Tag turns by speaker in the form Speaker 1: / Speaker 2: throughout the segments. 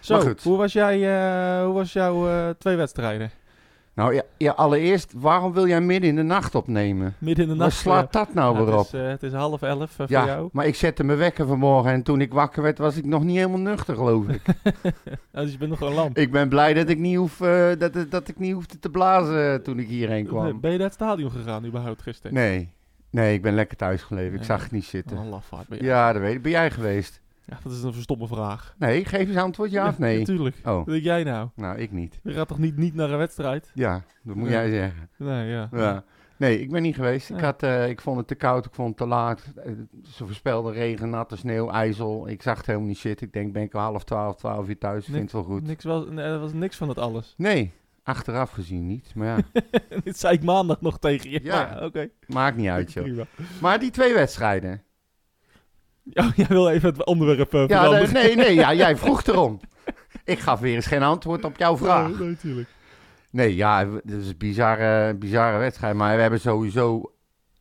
Speaker 1: Zo,
Speaker 2: Maar goed.
Speaker 1: hoe was, jij, eh, hoe was jouw eh, twee wedstrijden?
Speaker 2: Nou ja, ja, allereerst, waarom wil jij midden in de nacht opnemen?
Speaker 1: Midden in de
Speaker 2: Waar
Speaker 1: nacht.
Speaker 2: slaat dat nou
Speaker 1: eh,
Speaker 2: weer
Speaker 1: het,
Speaker 2: op?
Speaker 1: is, eh, het is half elf eh,
Speaker 2: Ja,
Speaker 1: voor jou.
Speaker 2: maar ik zette me wekker vanmorgen en toen ik wakker werd was ik nog niet helemaal nuchter, geloof ik.
Speaker 1: Ah, Dus je bent nog gewoon lam.
Speaker 2: ik ben blij dat ik niet, hoef, eh, dat, dat ik niet hoefde te blazen toen ik hierheen kwam.
Speaker 1: Eh, Ben je naar het stadion gegaan überhaupt gisteren? Oh,
Speaker 2: Nee, nee, ik ben lekker thuis gebleven. Ik
Speaker 1: Ja.
Speaker 2: zag het niet zitten.
Speaker 1: Wat een lafaard ben jij.
Speaker 2: Ja, dat weet ik. Ben jij geweest?
Speaker 1: Ja, dat is een verstomme vraag.
Speaker 2: Nee, geef eens antwoord, ja of nee?
Speaker 1: Natuurlijk.
Speaker 2: Oh,
Speaker 1: Wat denk jij nou?
Speaker 2: nou, ik niet.
Speaker 1: Je gaat toch niet, niet naar een wedstrijd?
Speaker 2: Ja, dat moet
Speaker 1: Ja.
Speaker 2: jij zeggen.
Speaker 1: Nee, ja.
Speaker 2: Ja. Nee, ik ben niet geweest. Ik,
Speaker 1: Ja.
Speaker 2: had, eh, ik vond het te koud, ik vond het te laat. Eh, Ze voorspelden regen, natte sneeuw, ijzel. Ik zag het helemaal niet zitten. Ik denk, ben ik al half twaalf, twaalf uur thuis. Ik
Speaker 1: Nee.
Speaker 2: vind het wel goed.
Speaker 1: Niks was, nee, er was niks van dat alles.
Speaker 2: Nee, achteraf gezien niet. Maar ja,
Speaker 1: Dit zei ik maandag nog tegen je.
Speaker 2: Ja.
Speaker 1: Maar oké.
Speaker 2: maakt niet uit, joh.
Speaker 1: Prima.
Speaker 2: Maar die twee wedstrijden.
Speaker 1: Ja, jij wil even het onderwerp eh,
Speaker 2: Ja,
Speaker 1: veranderen.
Speaker 2: nee, nee, ja, jij vroeg erom. Ik gaf weer eens geen antwoord op jouw vraag.
Speaker 1: Nee, natuurlijk.
Speaker 2: Nee, ja, w- dat is een bizarre, bizarre wedstrijd. Maar we hebben sowieso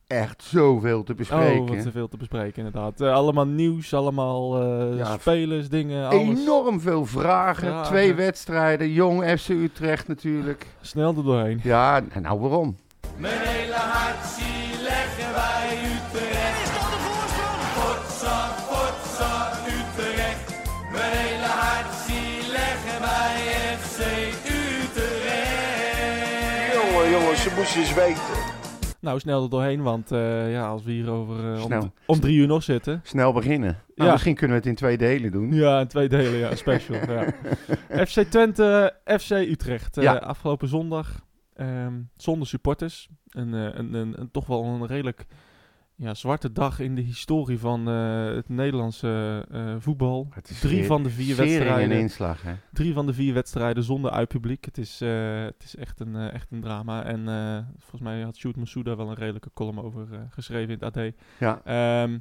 Speaker 2: echt zoveel te
Speaker 1: Oh, wat
Speaker 2: bespreken.
Speaker 1: te veel te bespreken inderdaad. Eh, allemaal nieuws, allemaal eh,
Speaker 2: Ja,
Speaker 1: spelers, dingen, alles.
Speaker 2: Enorm veel vragen.
Speaker 1: Vragen.
Speaker 2: Twee wedstrijden. Jong FC Utrecht natuurlijk.
Speaker 1: Snel er doorheen.
Speaker 2: Ja, en nou waarom?
Speaker 3: Mijn hele hart zie leggen wij Utrecht. Is dat de voorsprong? Potsa, potsa, Utrecht. Mijn hele hart zie leggen wij FC Utrecht.
Speaker 4: Jongen, jongens, ze moesten eens weten.
Speaker 1: Nou, snel er doorheen, want eh, ja, als we hier over eh,
Speaker 2: Snel.
Speaker 1: om, om drie uur nog zitten.
Speaker 2: Snel beginnen. Nou,
Speaker 1: Ja.
Speaker 2: Misschien kunnen we het in twee delen doen.
Speaker 1: Ja, in twee delen, ja, special. ja. FC Twente, FC Utrecht. eh,
Speaker 2: Ja.
Speaker 1: Afgelopen zondag, ehm, zonder supporters. Een, eh, een, een, een- toch wel een redelijk ja, zwarte dag in de historie van eh, het Nederlandse eh, voetbal.
Speaker 2: Het is
Speaker 1: Drie
Speaker 2: weer
Speaker 1: van de vier
Speaker 2: Sering en
Speaker 1: wedstrijden.
Speaker 2: inslag, hè?
Speaker 1: Drie van de vier wedstrijden zonder uitpubliek. Het is, eh, het is echt, een, eh, echt een drama. En eh, volgens mij had Sjoerd Masuda wel een redelijke column over eh, geschreven in het AD.
Speaker 2: Ja.
Speaker 1: Ehm,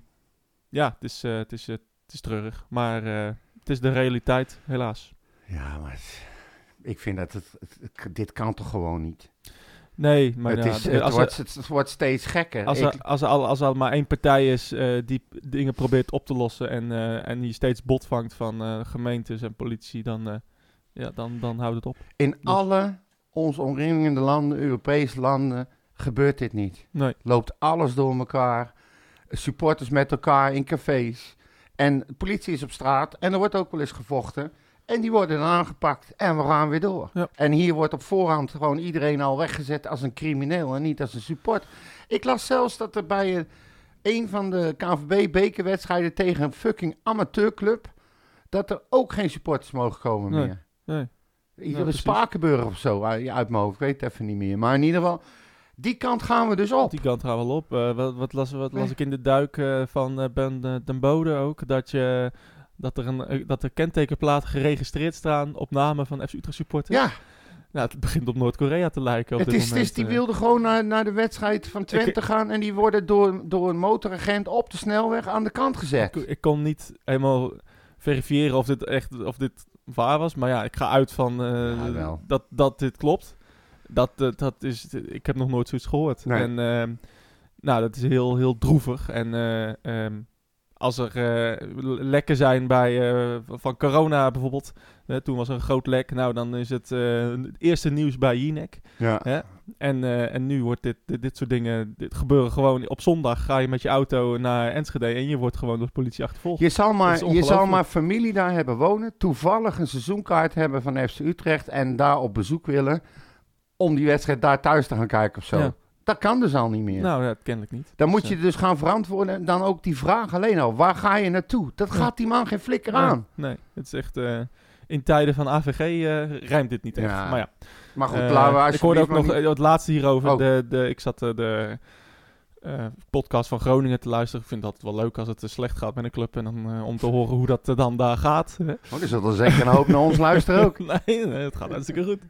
Speaker 1: ja, het is, eh, het, is, eh, het is treurig. Maar eh, het is de realiteit, helaas.
Speaker 2: Ja, maar het- ik vind dat het, het- het- dit kan toch gewoon niet.
Speaker 1: Nee, maar
Speaker 2: het,
Speaker 1: ja,
Speaker 2: is,
Speaker 1: d-
Speaker 2: het,
Speaker 1: als,
Speaker 2: wordt,
Speaker 1: er,
Speaker 2: het, wordt steeds gekker.
Speaker 1: als,
Speaker 2: Ik-
Speaker 1: er, als, er, al- als er maar één partij is eh, die p- dingen probeert op te lossen en, eh, en die steeds bot vangt van eh, gemeentes en politie, dan, eh, ja, dan, dan houdt het op.
Speaker 2: in alle ons omringende landen, Europese landen, gebeurt dit niet.
Speaker 1: Nee,
Speaker 2: loopt alles door elkaar. Supporters met elkaar in cafés. En de politie is op straat. En er wordt ook wel eens gevochten. En die worden dan aangepakt. En we gaan weer door.
Speaker 1: Ja.
Speaker 2: En hier wordt op voorhand gewoon iedereen al weggezet als een crimineel. En niet als een support. Ik las zelfs dat er bij een, een van de KNVB-bekerwedstrijden tegen een fucking amateurclub. dat er ook geen supporters mogen komen
Speaker 1: Nee.
Speaker 2: meer.
Speaker 1: nee. Ja,
Speaker 2: Iedere
Speaker 1: precies.
Speaker 2: Spakenburg of zo, uit uit mijn hoofd, ik weet het even niet meer. Maar in ieder geval, die kant gaan we dus op.
Speaker 1: Die kant gaan we wel op. Eh, wat, wat, las, wat las
Speaker 2: Nee.
Speaker 1: ik in de duik eh, van eh, Ben eh, den Bode ook? Dat, je, dat, er een, eh, dat er kentekenplaten geregistreerd staan op namen van FC Utrecht supporters.
Speaker 2: Ja,
Speaker 1: Nou, het begint op Noord-Korea te lijken op
Speaker 2: het
Speaker 1: dit
Speaker 2: is, het
Speaker 1: moment.
Speaker 2: is, die
Speaker 1: eh.
Speaker 2: wilden gewoon naar, naar de wedstrijd van Twente
Speaker 1: Ik-
Speaker 2: gaan. En die worden door, door een motoragent op de snelweg aan de kant gezet.
Speaker 1: Ik, ik kon niet helemaal verifiëren of dit echt of dit waar was. Maar ja, ik ga uit van eh,
Speaker 2: Ja, wel.
Speaker 1: dat, dat dit klopt. Dat, eh, dat is, ik heb nog nooit zoiets gehoord.
Speaker 2: Nee.
Speaker 1: En ehm, nou, dat is heel, heel droevig. En eh, ehm, als er eh, lekken zijn bij, eh, van corona bijvoorbeeld. eh, toen was er een groot lek. Nou, dan is het eh, het eerste nieuws bij Jinek.
Speaker 2: Ja.
Speaker 1: En, eh, en nu wordt dit, dit, dit soort dingen, dit gebeuren gewoon op zondag. Ga je met je auto naar Enschede en je wordt gewoon door de politie achtervolgd.
Speaker 2: Je zal,
Speaker 1: Dat is
Speaker 2: maar, je
Speaker 1: ongelooflijk.
Speaker 2: zal maar familie daar hebben wonen. Toevallig een seizoenkaart hebben van FC Utrecht. En daar op bezoek willen. Om die wedstrijd daar thuis te gaan kijken of zo.
Speaker 1: Ja.
Speaker 2: Dat kan dus al niet meer.
Speaker 1: Nou, dat kennelijk niet.
Speaker 2: dan moet
Speaker 1: Dus,
Speaker 2: je dus gaan verantwoorden. En dan ook die vraag alleen al. Waar ga je naartoe? Dat
Speaker 1: Ja.
Speaker 2: gaat die man geen flikker
Speaker 1: eh,
Speaker 2: aan.
Speaker 1: Nee, nee, het is echt... eh, in tijden van AVG eh rijmt dit niet echt.
Speaker 2: Ja,
Speaker 1: maar ja,
Speaker 2: Maar goed,
Speaker 1: eh,
Speaker 2: laten we alsjeblieft
Speaker 1: ik hoorde ook
Speaker 2: maar
Speaker 1: nog
Speaker 2: niet-
Speaker 1: eh, het laatste hierover.
Speaker 2: Oh.
Speaker 1: De, de, ik zat eh, de eh, podcast van Groningen te luisteren. Ik vind dat wel leuk als het eh, slecht gaat met een club. En dan, eh, om te horen hoe dat eh, dan daar gaat. hè.
Speaker 2: Oh, er zullen zeker een hoop naar ons luisteren ook.
Speaker 1: nee, nee, het gaat hartstikke goed.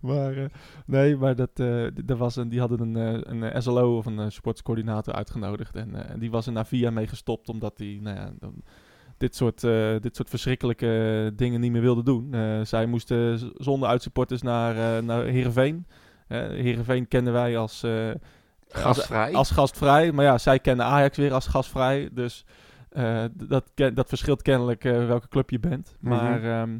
Speaker 1: Maar eh, nee, maar dat, eh, d- er was een, die hadden een, eh, een eh, SLO of een eh, supportscoördinator uitgenodigd. En eh, en die was er na via mee gestopt omdat hij nou ja, dan- dit, soort, eh, dit soort verschrikkelijke dingen niet meer wilde doen. Eh, zij moesten z- zonder uitsupporters naar, eh naar Heerenveen. Eh Heerenveen kennen wij als... eh, als-
Speaker 2: Gastvrij.
Speaker 1: als gastvrij. Maar ja, zij kennen Ajax weer als gastvrij. Dus eh, d- dat, ken- dat verschilt kennelijk eh, welke club je bent.
Speaker 2: Mhm.
Speaker 1: Maar ehm,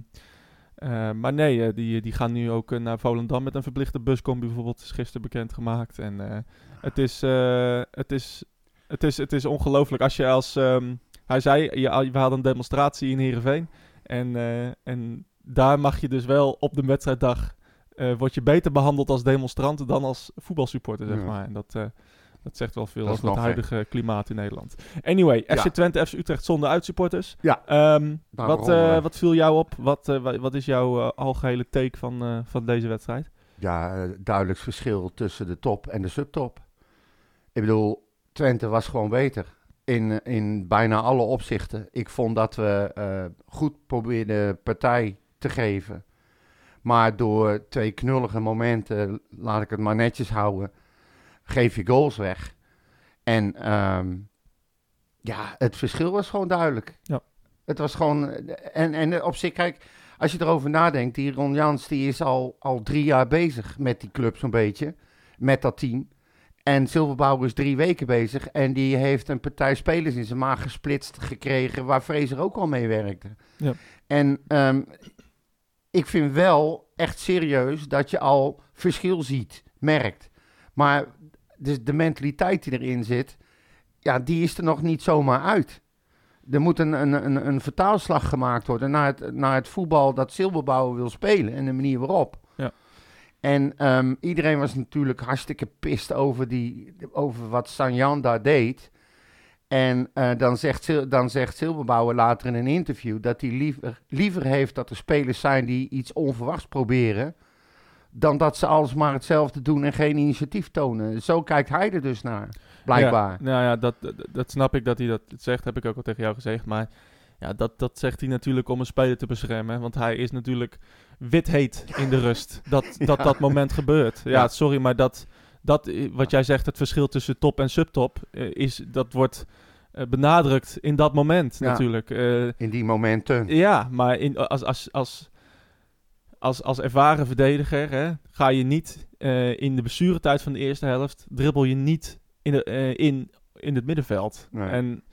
Speaker 1: Eh, maar nee, eh, die, die gaan nu ook eh, naar Volendam met een verplichte buscombi bijvoorbeeld. is gisteren bekendgemaakt. En eh, het is, eh, het is, het is, het is ongelooflijk. Als je als, ehm, hij zei, je, we hadden een demonstratie in Heerenveen. En, eh, en daar mag je dus wel op de wedstrijddag, eh word je beter behandeld als demonstrant dan als voetbalsupporter, zeg
Speaker 2: Ja.
Speaker 1: maar. En dat, eh, dat zegt wel veel
Speaker 2: Dat is
Speaker 1: over het
Speaker 2: wel gek.
Speaker 1: huidige klimaat in Nederland. Anyway, FC
Speaker 2: Ja.
Speaker 1: Twente, FC Utrecht zonder uitsupporters.
Speaker 2: Ja. Nou,
Speaker 1: Ehm,
Speaker 2: Daar
Speaker 1: wat,
Speaker 2: rollen we.
Speaker 1: eh, wat viel jou op? Wat, eh, wa- wat is jouw eh, algehele take van, eh, van deze wedstrijd?
Speaker 2: Ja, eh, duidelijk verschil tussen de top en de subtop. Ik bedoel, Twente was gewoon beter. In, in bijna alle opzichten. Ik vond dat we eh, goed probeerden partij te geven. Maar door twee knullige momenten, laat ik het maar netjes houden, geef je goals weg. En ehm, ja, het verschil was gewoon duidelijk.
Speaker 1: Ja.
Speaker 2: Het was gewoon. eh, En, en op zich, kijk, als je erover nadenkt, die Ron Jans die is al, al drie jaar bezig met die club zo'n beetje. Met dat team. En Silverbouw is drie weken bezig. En die heeft een partij spelers in zijn maag gesplitst gekregen. Waar Fraser ook al mee werkte.
Speaker 1: Ja.
Speaker 2: En ehm, ik vind wel echt serieus dat je al verschil ziet, merkt. Maar dus de mentaliteit die erin zit, ja, die is er nog niet zomaar uit. Er moet een, een, een, een vertaalslag gemaakt worden naar het, naar het voetbal dat Silberbouwer wil spelen en de manier waarop.
Speaker 1: Ja.
Speaker 2: En ehm, iedereen was natuurlijk hartstikke pist over, die, over wat Sanjan daar deed. En eh, dan, zegt, Sil- dan zegt Silberbouwer later in een interview dat hij liever, liever heeft dat er spelers zijn die iets onverwachts proberen. Dan dat ze alsmaar hetzelfde doen en geen initiatief tonen. Zo kijkt hij er dus naar, blijkbaar.
Speaker 1: Ja, nou ja, dat, dat, dat snap ik dat hij dat zegt. Heb ik ook al tegen jou gezegd. Maar ja, dat, dat zegt hij natuurlijk om een speler te beschermen. Want hij is natuurlijk witheet in de rust. Dat dat, dat moment gebeurt. Ja,
Speaker 2: Ja.
Speaker 1: sorry, maar dat, dat eh, wat jij zegt, het verschil tussen top en subtop, eh, is, dat wordt eh, benadrukt in dat moment
Speaker 2: Ja.
Speaker 1: natuurlijk. Eh,
Speaker 2: In die momenten.
Speaker 1: Ja, maar in, als, als, als, als, als ervaren verdediger hè, ga je niet eh, in de blessuretijd van de eerste helft dribbel je niet in, de, eh, in, in het middenveld.
Speaker 2: Nee.
Speaker 1: En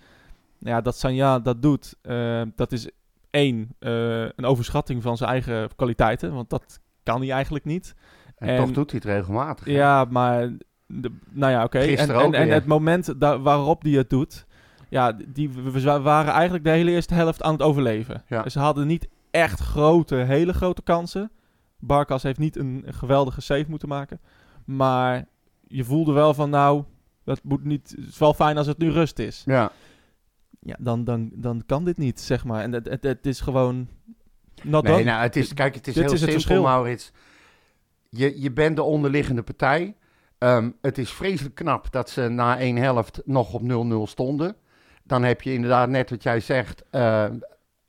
Speaker 1: ja, dat Sanja dat doet, eh, dat is één, eh, een overschatting van zijn eigen kwaliteiten, want dat kan hij eigenlijk niet.
Speaker 2: En,
Speaker 1: En-
Speaker 2: toch doet hij het regelmatig. hè?
Speaker 1: Ja, maar. De, nou ja, oké. En,
Speaker 2: Gisteren ook
Speaker 1: en, en
Speaker 2: weer.
Speaker 1: het moment da- waarop die het doet. Ja, die, we we waren eigenlijk de hele eerste helft aan het overleven.
Speaker 2: Ja.
Speaker 1: Ze hadden niet echt grote, hele grote kansen. Barkas heeft niet een geweldige save moeten maken. Maar je voelde wel van, nou, dat moet niet. Het is wel fijn als het nu rust is
Speaker 2: Ja.
Speaker 1: ja, dan, dan, dan kan dit niet, zeg maar. En het, het, het is gewoon. Not
Speaker 2: Nee,
Speaker 1: done.
Speaker 2: nou, het is, kijk, het is
Speaker 1: Dit
Speaker 2: heel
Speaker 1: is het
Speaker 2: simpel,
Speaker 1: verschil.
Speaker 2: Maurits. Je, je bent de onderliggende partij. Ehm, het is vreselijk knap dat ze na één helft nog op 0-0 stonden. Dan heb je inderdaad net wat jij zegt. eh,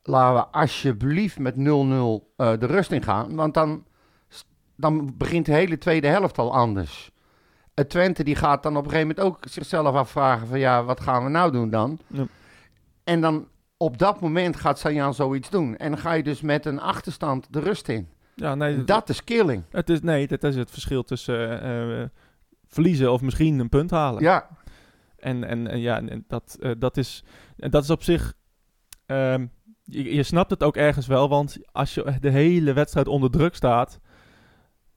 Speaker 2: laten we alsjeblieft met 0-0 eh, de rust in gaan. Want dan, dan begint de hele tweede helft al anders. Het Twente die gaat dan op een gegeven moment ook zichzelf afvragen van ja, wat gaan we nou doen dan?
Speaker 1: Ja.
Speaker 2: En dan op dat moment gaat Sanjan zoiets doen. En dan ga je dus met een achterstand de rust in.
Speaker 1: Ja, nee, dat,
Speaker 2: Dat is killing.
Speaker 1: het is, nee, dat is het verschil tussen eh, eh, verliezen of misschien een punt halen.
Speaker 2: Ja,
Speaker 1: En, en, en ja, en- en dat, eh, dat, is, en dat is op zich. ehm, je, je snapt het ook ergens wel, want als je de hele wedstrijd onder druk staat.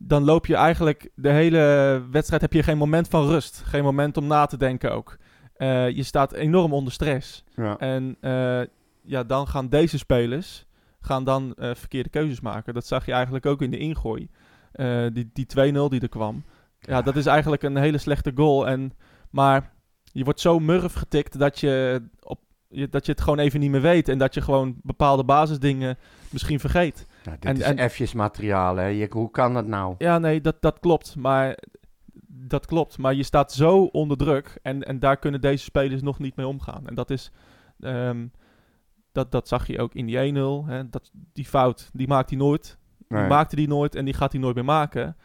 Speaker 1: Dan loop je eigenlijk de hele wedstrijd. Heb je geen moment van rust. Geen moment om na te denken ook. Eh, je staat enorm onder stress.
Speaker 2: ja.
Speaker 1: En eh, ja, dan gaan deze spelers gaan dan eh, verkeerde keuzes maken. Dat zag je eigenlijk ook in de ingooi. Eh, die die 2-0 die er kwam. Ja, dat is eigenlijk een hele slechte goal. En, maar je wordt zo murf getikt dat je, op, je- dat je het gewoon even niet meer weet. En dat je gewoon bepaalde basisdingen misschien vergeet.
Speaker 2: Nou, dit
Speaker 1: En-
Speaker 2: is
Speaker 1: en-
Speaker 2: effjes materiaal, hè. Je- hoe kan dat nou?
Speaker 1: Ja, nee, dat, dat klopt. Maar dat klopt. Maar je staat zo onder druk. En, en daar kunnen deze spelers nog niet mee omgaan. En dat is. ehm, dat, dat zag je ook in die 1-0. hè. Dat, die fout, die maakt hij nooit.
Speaker 2: Nee.
Speaker 1: Die maakte die nooit en die gaat hij nooit meer maken.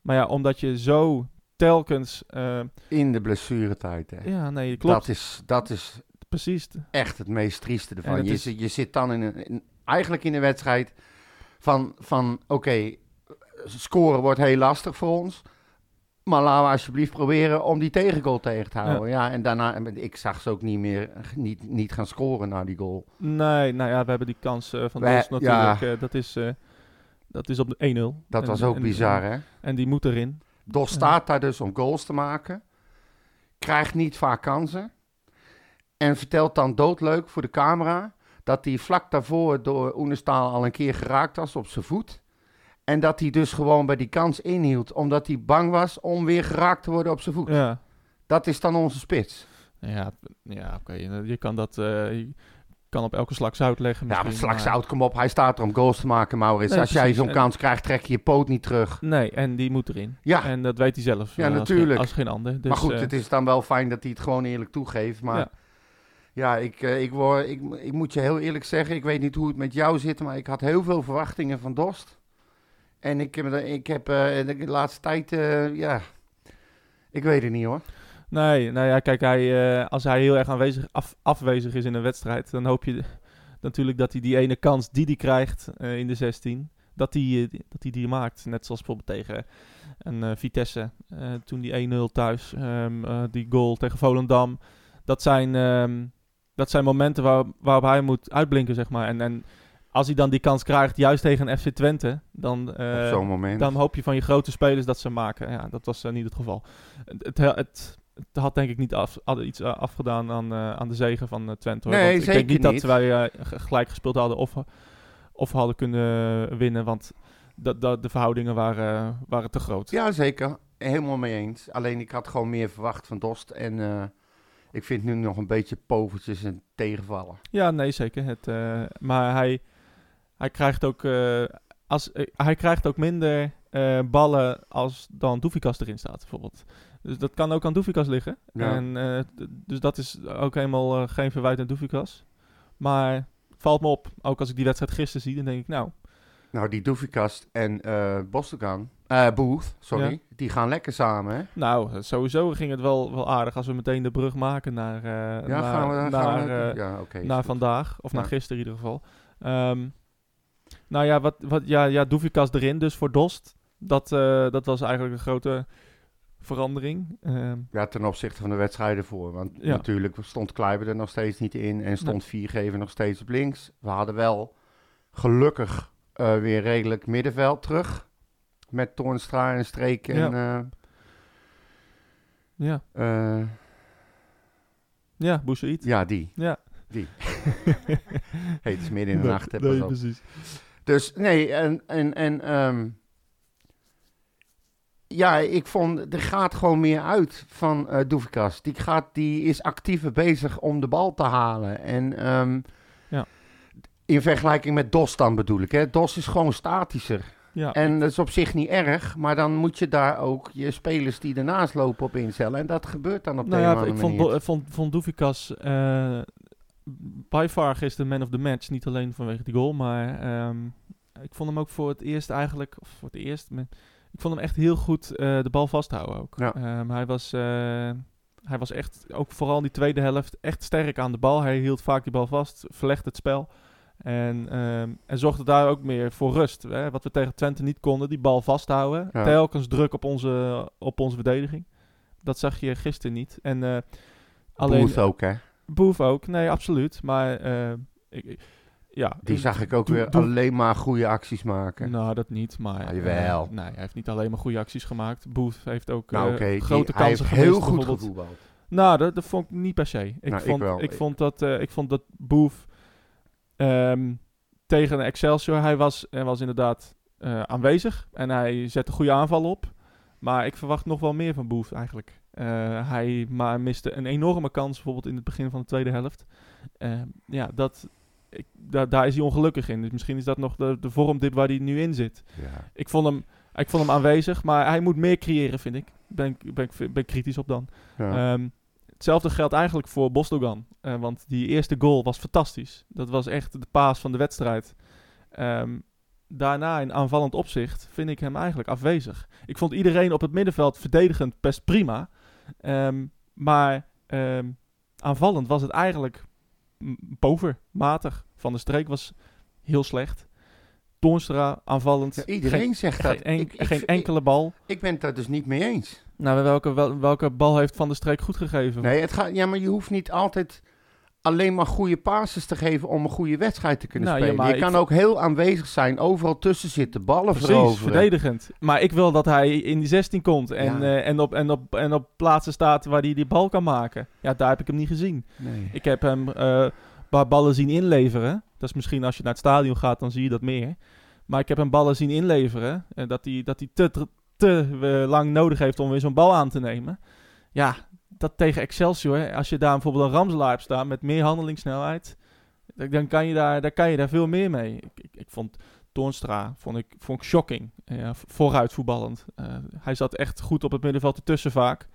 Speaker 1: Maar ja, omdat je zo telkens. eh,
Speaker 2: In de blessuretijd, hè.
Speaker 1: ja, nee, klopt.
Speaker 2: Dat is, dat is
Speaker 1: Precies.
Speaker 2: echt het meest trieste
Speaker 1: En
Speaker 2: ervan.
Speaker 1: het
Speaker 2: Je,
Speaker 1: is-
Speaker 2: zit- je zit dan in een, in- eigenlijk in een wedstrijd van, van oké, scoren wordt heel lastig voor ons. Maar laten we alsjeblieft proberen om die tegengoal tegen te houden. Ja, en daarna, en ik zag ze ook niet meer niet, niet gaan scoren na die goal.
Speaker 1: Nee, nou ja, we hebben die kans eh, van
Speaker 2: We-
Speaker 1: ons natuurlijk.
Speaker 2: ja.
Speaker 1: eh, dat is. eh, Dat is op de 1-0.
Speaker 2: Dat
Speaker 1: En-
Speaker 2: was ook
Speaker 1: en-
Speaker 2: bizar,
Speaker 1: En,
Speaker 2: hè?
Speaker 1: en die moet erin.
Speaker 2: Dos staat daar dus om goals te maken. Krijgt niet vaak kansen. En vertelt dan doodleuk voor de camera dat hij vlak daarvoor door Oenestaal al een keer geraakt was op zijn voet. En dat hij dus gewoon bij die kans inhield, omdat hij bang was om weer geraakt te worden op zijn voet.
Speaker 1: Ja,
Speaker 2: Dat is dan onze spits.
Speaker 1: ja, ja oké. Je, je kan dat eh, je kan op elke slak zout leggen.
Speaker 2: Ja, maar
Speaker 1: misschien,
Speaker 2: slak zout, kom op. Hij staat er om goals te maken, Maurits.
Speaker 1: Nee,
Speaker 2: Als jij
Speaker 1: precies.
Speaker 2: zo'n
Speaker 1: En-
Speaker 2: kans krijgt, trek je je poot niet terug.
Speaker 1: Nee, en die moet erin.
Speaker 2: Ja,
Speaker 1: En dat weet hij zelf.
Speaker 2: Ja,
Speaker 1: eh, als
Speaker 2: natuurlijk.
Speaker 1: geen- Als geen, ander. Dus,
Speaker 2: maar goed,
Speaker 1: eh,
Speaker 2: het is dan wel fijn dat hij het gewoon eerlijk toegeeft. Maar ja,
Speaker 1: Ja.
Speaker 2: ik, eh, ik, word, ik, ik moet je heel eerlijk zeggen, ik weet niet hoe het met jou zit, maar ik had heel veel verwachtingen van Dost. En ik, heb- ik heb eh, de laatste tijd, eh, ja, ik weet het niet hoor.
Speaker 1: Nee, nou ja, kijk, hij, eh, als hij heel erg aanwezig, af- afwezig is in een wedstrijd, dan hoop je d- natuurlijk dat hij die ene kans die hij krijgt eh, in de 16, dat hij, eh, die- dat hij die maakt. Net zoals bijvoorbeeld tegen een eh, Vitesse, eh, toen die 1-0 thuis, ehm, eh, die goal tegen Volendam. Dat zijn, ehm, dat zijn momenten waar, waarop hij moet uitblinken, zeg maar. En, en als hij dan die kans krijgt, juist tegen een FC Twente, dan...
Speaker 2: op
Speaker 1: eh,
Speaker 2: zo'n moment.
Speaker 1: dan hoop je van je grote spelers dat ze maken. Ja, dat was eh, niet het geval. Het, het, het, het had denk ik niet af, had iets eh, afgedaan aan, eh, aan de zegen van eh, Twente. hoor.
Speaker 2: Nee,
Speaker 1: want ik
Speaker 2: zeker
Speaker 1: denk niet,
Speaker 2: niet.
Speaker 1: dat wij eh, g- gelijk gespeeld hadden of, of hadden kunnen winnen. Want dat, dat, de verhoudingen waren, waren te groot.
Speaker 2: Ja, zeker. Helemaal mee eens. Alleen ik had gewoon meer verwacht van Dost. En eh, ik vind nu nog een beetje povertjes en tegenvallen.
Speaker 1: Ja, nee, zeker. Het, eh, maar hij, hij krijgt ook... eh, als, eh, hij krijgt ook minder eh, ballen als dan Doefikas erin staat, bijvoorbeeld. Dus dat kan ook aan Doefikas liggen.
Speaker 2: Ja.
Speaker 1: En, eh, d- dus dat is ook helemaal eh, geen verwijt aan Doefikas. Maar het valt me op, ook als ik die wedstrijd gisteren zie, dan denk ik, nou...
Speaker 2: Nou, die Doefikast en eh Bostegan, eh, Booth, sorry,
Speaker 1: Ja.
Speaker 2: die gaan lekker samen, hè?
Speaker 1: Nou, sowieso ging het wel, wel aardig als we meteen de brug maken naar, eh,
Speaker 2: Ja,
Speaker 1: naar,
Speaker 2: gaan we...
Speaker 1: naar,
Speaker 2: gaan we
Speaker 1: eh,
Speaker 2: ja, oké.
Speaker 1: naar vandaag, of
Speaker 2: Ja.
Speaker 1: naar gisteren in ieder geval. Ehm, nou ja, wat, wat, ja, ja, Doefikas erin dus voor Dost. Dat, eh, dat was eigenlijk een grote verandering. Ehm,
Speaker 2: ja, ten opzichte van de wedstrijden voor. Want
Speaker 1: Ja.
Speaker 2: natuurlijk stond Kleiber er nog steeds niet in en stond Viergever nog steeds op links. We hadden wel gelukkig eh, weer redelijk middenveld terug. Met Toornstra en Streek en...
Speaker 1: ja,
Speaker 2: eh, eh,
Speaker 1: ja Boussaïd.
Speaker 2: ja, die.
Speaker 1: Ja,
Speaker 2: Hey, het is midden in de
Speaker 1: Nee,
Speaker 2: nacht. hè,
Speaker 1: nee,
Speaker 2: pas op.
Speaker 1: precies.
Speaker 2: Dus nee, en, en, en ehm, ja, ik vond, er gaat gewoon meer uit van eh Doefikas. Die, gaat, die is actiever bezig om de bal te halen. En ehm,
Speaker 1: Ja.
Speaker 2: in vergelijking met Dos dan bedoel ik. Hè? Dos is gewoon statischer.
Speaker 1: Ja,
Speaker 2: En dat is op zich niet erg, maar dan moet je daar ook je spelers die ernaast lopen op instellen. En dat gebeurt dan op
Speaker 1: nou
Speaker 2: de
Speaker 1: ja,
Speaker 2: manier.
Speaker 1: ik vond, Bo- eh, vond, vond Doefikas eh, by far gisteren man of the match. Niet alleen vanwege die goal, maar ehm, ik vond hem ook voor het eerst eigenlijk, of voor het eerst, me- ik vond hem echt heel goed eh, de bal vasthouden ook.
Speaker 2: Ja.
Speaker 1: Ehm, hij was... eh, hij was echt, ook vooral in die tweede helft, echt sterk aan de bal. Hij hield vaak die bal vast, verlegde het spel. En, ehm, en zorgde daar ook meer voor rust. Hè? Wat we tegen Twente niet konden, die bal vasthouden.
Speaker 2: Ja.
Speaker 1: Telkens druk op onze, op onze verdediging. Dat zag je gisteren niet. En eh, alleen eh,
Speaker 2: Booth ook, hè?
Speaker 1: Boef ook. Nee, absoluut. Maar eh, ik, ik- ja,
Speaker 2: Die
Speaker 1: ik-
Speaker 2: zag ik ook
Speaker 1: doe-
Speaker 2: weer
Speaker 1: doe-
Speaker 2: alleen maar goede acties maken.
Speaker 1: Nou, dat niet. Maar
Speaker 2: Ah, jawel.
Speaker 1: eh, nee, hij heeft niet alleen maar goede acties gemaakt. Boef heeft ook
Speaker 2: nou,
Speaker 1: eh,
Speaker 2: oké, die-
Speaker 1: grote
Speaker 2: hij
Speaker 1: kansen
Speaker 2: heeft
Speaker 1: gemist,
Speaker 2: heel goed
Speaker 1: bijvoorbeeld.
Speaker 2: gevoetbald.
Speaker 1: Nou, dat, dat vond ik niet per se. Ik,
Speaker 2: Nou, ik
Speaker 1: vond, ik,
Speaker 2: wel.
Speaker 1: vond, dat, eh, ik vond dat Boef ehm, tegen Excelsior, hij was, hij was inderdaad eh, aanwezig en hij zette goede aanvallen op. Maar ik verwacht nog wel meer van Boef eigenlijk. Eh, hij maar miste een enorme kans bijvoorbeeld in het begin van de tweede helft. Eh, ja, dat, ik, daar- daar is hij ongelukkig in. Dus misschien is dat nog de, de vormdip waar hij nu in zit.
Speaker 2: Ja.
Speaker 1: Ik vond hem, ik vond hem aanwezig, maar hij moet meer creëren, vind ik. Ben, ik- ben, ik- ben ik kritisch op dan.
Speaker 2: Ja.
Speaker 1: Ehm, hetzelfde geldt eigenlijk voor Bostogan. Eh, want die eerste goal was fantastisch. Dat was echt de paas van de wedstrijd. Ehm, daarna in aanvallend opzicht vind ik hem eigenlijk afwezig. Ik vond iedereen op het middenveld verdedigend best prima. Ehm, maar ehm, aanvallend was het eigenlijk m- pover, matig. Van de streek was heel slecht. Toornstra aanvallend.
Speaker 2: Ja, iedereen
Speaker 1: Geen-
Speaker 2: zegt dat.
Speaker 1: geen, en-
Speaker 2: ik, ik,
Speaker 1: geen
Speaker 2: ik-
Speaker 1: enkele bal.
Speaker 2: ik ben het daar dus niet mee eens.
Speaker 1: Nou, welke, wel- welke bal heeft Van de Streek goed gegeven?
Speaker 2: Nee, het gaat, ja, maar je hoeft niet altijd alleen maar goede passes te geven om een goede wedstrijd te kunnen
Speaker 1: Nou, ja,
Speaker 2: spelen.
Speaker 1: maar
Speaker 2: je
Speaker 1: ik
Speaker 2: kan
Speaker 1: vo-
Speaker 2: ook heel aanwezig zijn, overal tussen zitten, ballen
Speaker 1: Precies,
Speaker 2: veroveren.
Speaker 1: verdedigend. Maar ik wil dat hij in die 16 komt en,
Speaker 2: Ja.
Speaker 1: eh, en, op, en, op, en op plaatsen staat waar hij die bal kan maken. Ja, daar heb ik hem niet gezien.
Speaker 2: Nee.
Speaker 1: Ik heb hem eh ba- ballen zien inleveren. Dat is misschien als je naar het stadion gaat, dan zie je dat meer. Maar ik heb hem ballen zien inleveren. En dat hij, dat hij te, te, eh, lang nodig heeft om weer zo'n bal aan te nemen. Ja, dat tegen Excelsior. Als je daar bijvoorbeeld een Ramselaar hebt staan met meer handelingssnelheid. dan- Dan kan je daar, dan kan je daar veel meer mee. Ik, ik, ik vond Toornstra vond ik, vond ik shocking. Ja, v- vooruit voetballend. Eh, hij zat echt goed op het middenveld ertussen vaak.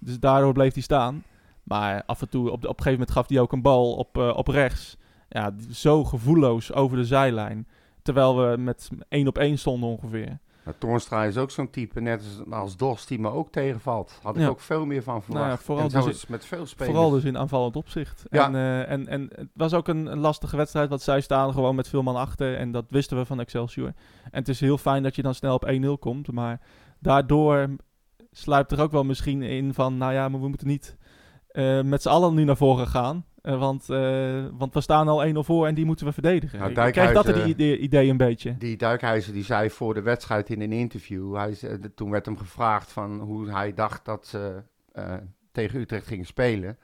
Speaker 1: Dus daardoor bleef hij staan. Maar af en toe, op, de- op een gegeven moment gaf hij ook een bal op, eh, op rechts. Ja, d- zo gevoelloos over de zijlijn. Terwijl we met één op één stonden ongeveer.
Speaker 2: Nou, Toornstra is ook zo'n type, net als, als Dos, die me ook tegenvalt. Had ik
Speaker 1: Ja.
Speaker 2: ook veel meer van verwacht.
Speaker 1: Nou ja, vooral
Speaker 2: en zo
Speaker 1: dus-
Speaker 2: is het met veel spelers.
Speaker 1: Vooral dus in aanvallend opzicht.
Speaker 2: Ja.
Speaker 1: En, eh, en, en het was ook een, een lastige wedstrijd, want zij staan gewoon met veel man achter. En dat wisten we van Excelsior. En het is heel fijn dat je dan snel op 1-0 komt. Maar daardoor sluipt er ook wel misschien in van, nou ja, maar we moeten niet eh, met z'n allen nu naar voren gaan. Eh, want, eh, want we staan al 1-0 voor en die moeten we verdedigen.
Speaker 2: Nou,
Speaker 1: Ik- ik krijg dat
Speaker 2: Dijkhuizen-
Speaker 1: het idee, idee een beetje.
Speaker 2: Die Duikhuizen die zei voor de wedstrijd in een interview, hij, ze- de- toen werd hem gevraagd van hoe hij dacht dat ze eh, tegen Utrecht gingen spelen.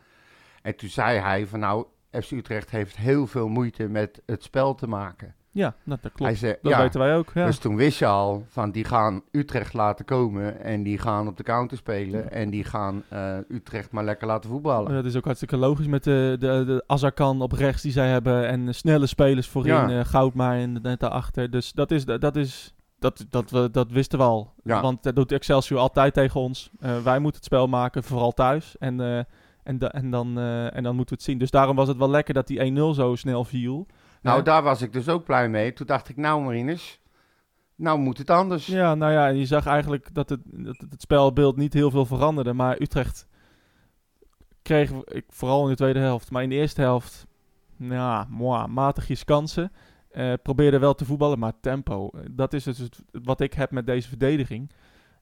Speaker 2: En toen zei hij van nou, FC Utrecht heeft heel veel moeite met het spel te maken.
Speaker 1: Ja, nou, dat klopt.
Speaker 2: hij zei,
Speaker 1: Dat
Speaker 2: ja,
Speaker 1: weten wij ook. Ja.
Speaker 2: Dus toen wist je al van die gaan Utrecht laten komen en die gaan op de counter spelen
Speaker 1: Ja.
Speaker 2: en die gaan eh, Utrecht maar lekker laten voetballen.
Speaker 1: dat is ook hartstikke logisch met de, de, de Azarkan op rechts die zij hebben. En eh, snelle spelers voorin,
Speaker 2: Ja.
Speaker 1: eh, Goudmaai en net daarachter. Dus dat is... Dat, is dat, dat, we, dat wisten we al.
Speaker 2: Ja.
Speaker 1: Want dat doet Excelsior altijd tegen ons. Eh, wij moeten het spel maken, vooral thuis. En, eh, en, da- en, dan, eh, en dan moeten we het zien. Dus daarom was het wel lekker dat die 1-0 zo snel viel. Eh,
Speaker 2: Nou,
Speaker 1: Ja.
Speaker 2: daar was ik dus ook blij mee. Toen dacht ik, nou Marinus, nou moet het anders.
Speaker 1: Ja, nou ja, en je zag eigenlijk dat het, dat het het spelbeeld niet heel veel veranderde. Maar Utrecht kreeg, ik, vooral in de tweede helft, maar in de eerste helft, nou, moi, matigjes kansen. Eh, probeerde wel te voetballen, maar tempo. eh, Dat is dus het, wat ik heb met deze verdediging.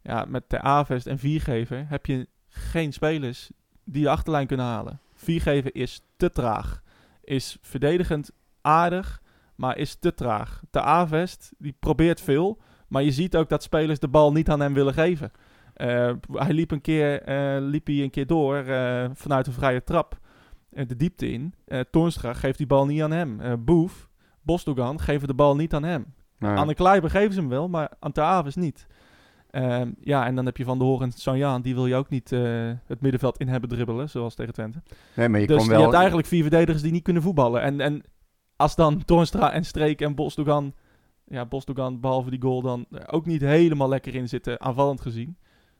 Speaker 1: Ja, met de Avest en Viergever heb je geen spelers die de achterlijn kunnen halen. Viergever is te traag. Is verdedigend aardig, maar is te traag. De Avest, die probeert veel, maar je ziet ook dat spelers de bal niet aan hem willen geven. Eh, hij liep een keer, eh, liep hij een keer door eh, vanuit een vrije trap eh, de diepte in. Eh Toornstra geeft die bal niet aan hem. Eh, Boef, Bosdogan geven de bal niet aan hem.
Speaker 2: Nou,
Speaker 1: Aan de Kleiber geven ze hem wel, maar aan Tavis niet. Ehm, ja, en dan heb je Van de Horen en Sanjaan. Die wil je ook niet eh, het middenveld in hebben dribbelen, zoals tegen Twente.
Speaker 2: nee, maar je
Speaker 1: dus
Speaker 2: kon
Speaker 1: je
Speaker 2: wel...
Speaker 1: hebt eigenlijk vier verdedigers die niet kunnen voetballen. En, en als dan Toornstra en Streek en Bosdogan... Ja, Bosdogan, behalve die goal, dan er ook niet helemaal lekker in zitten, aanvallend gezien.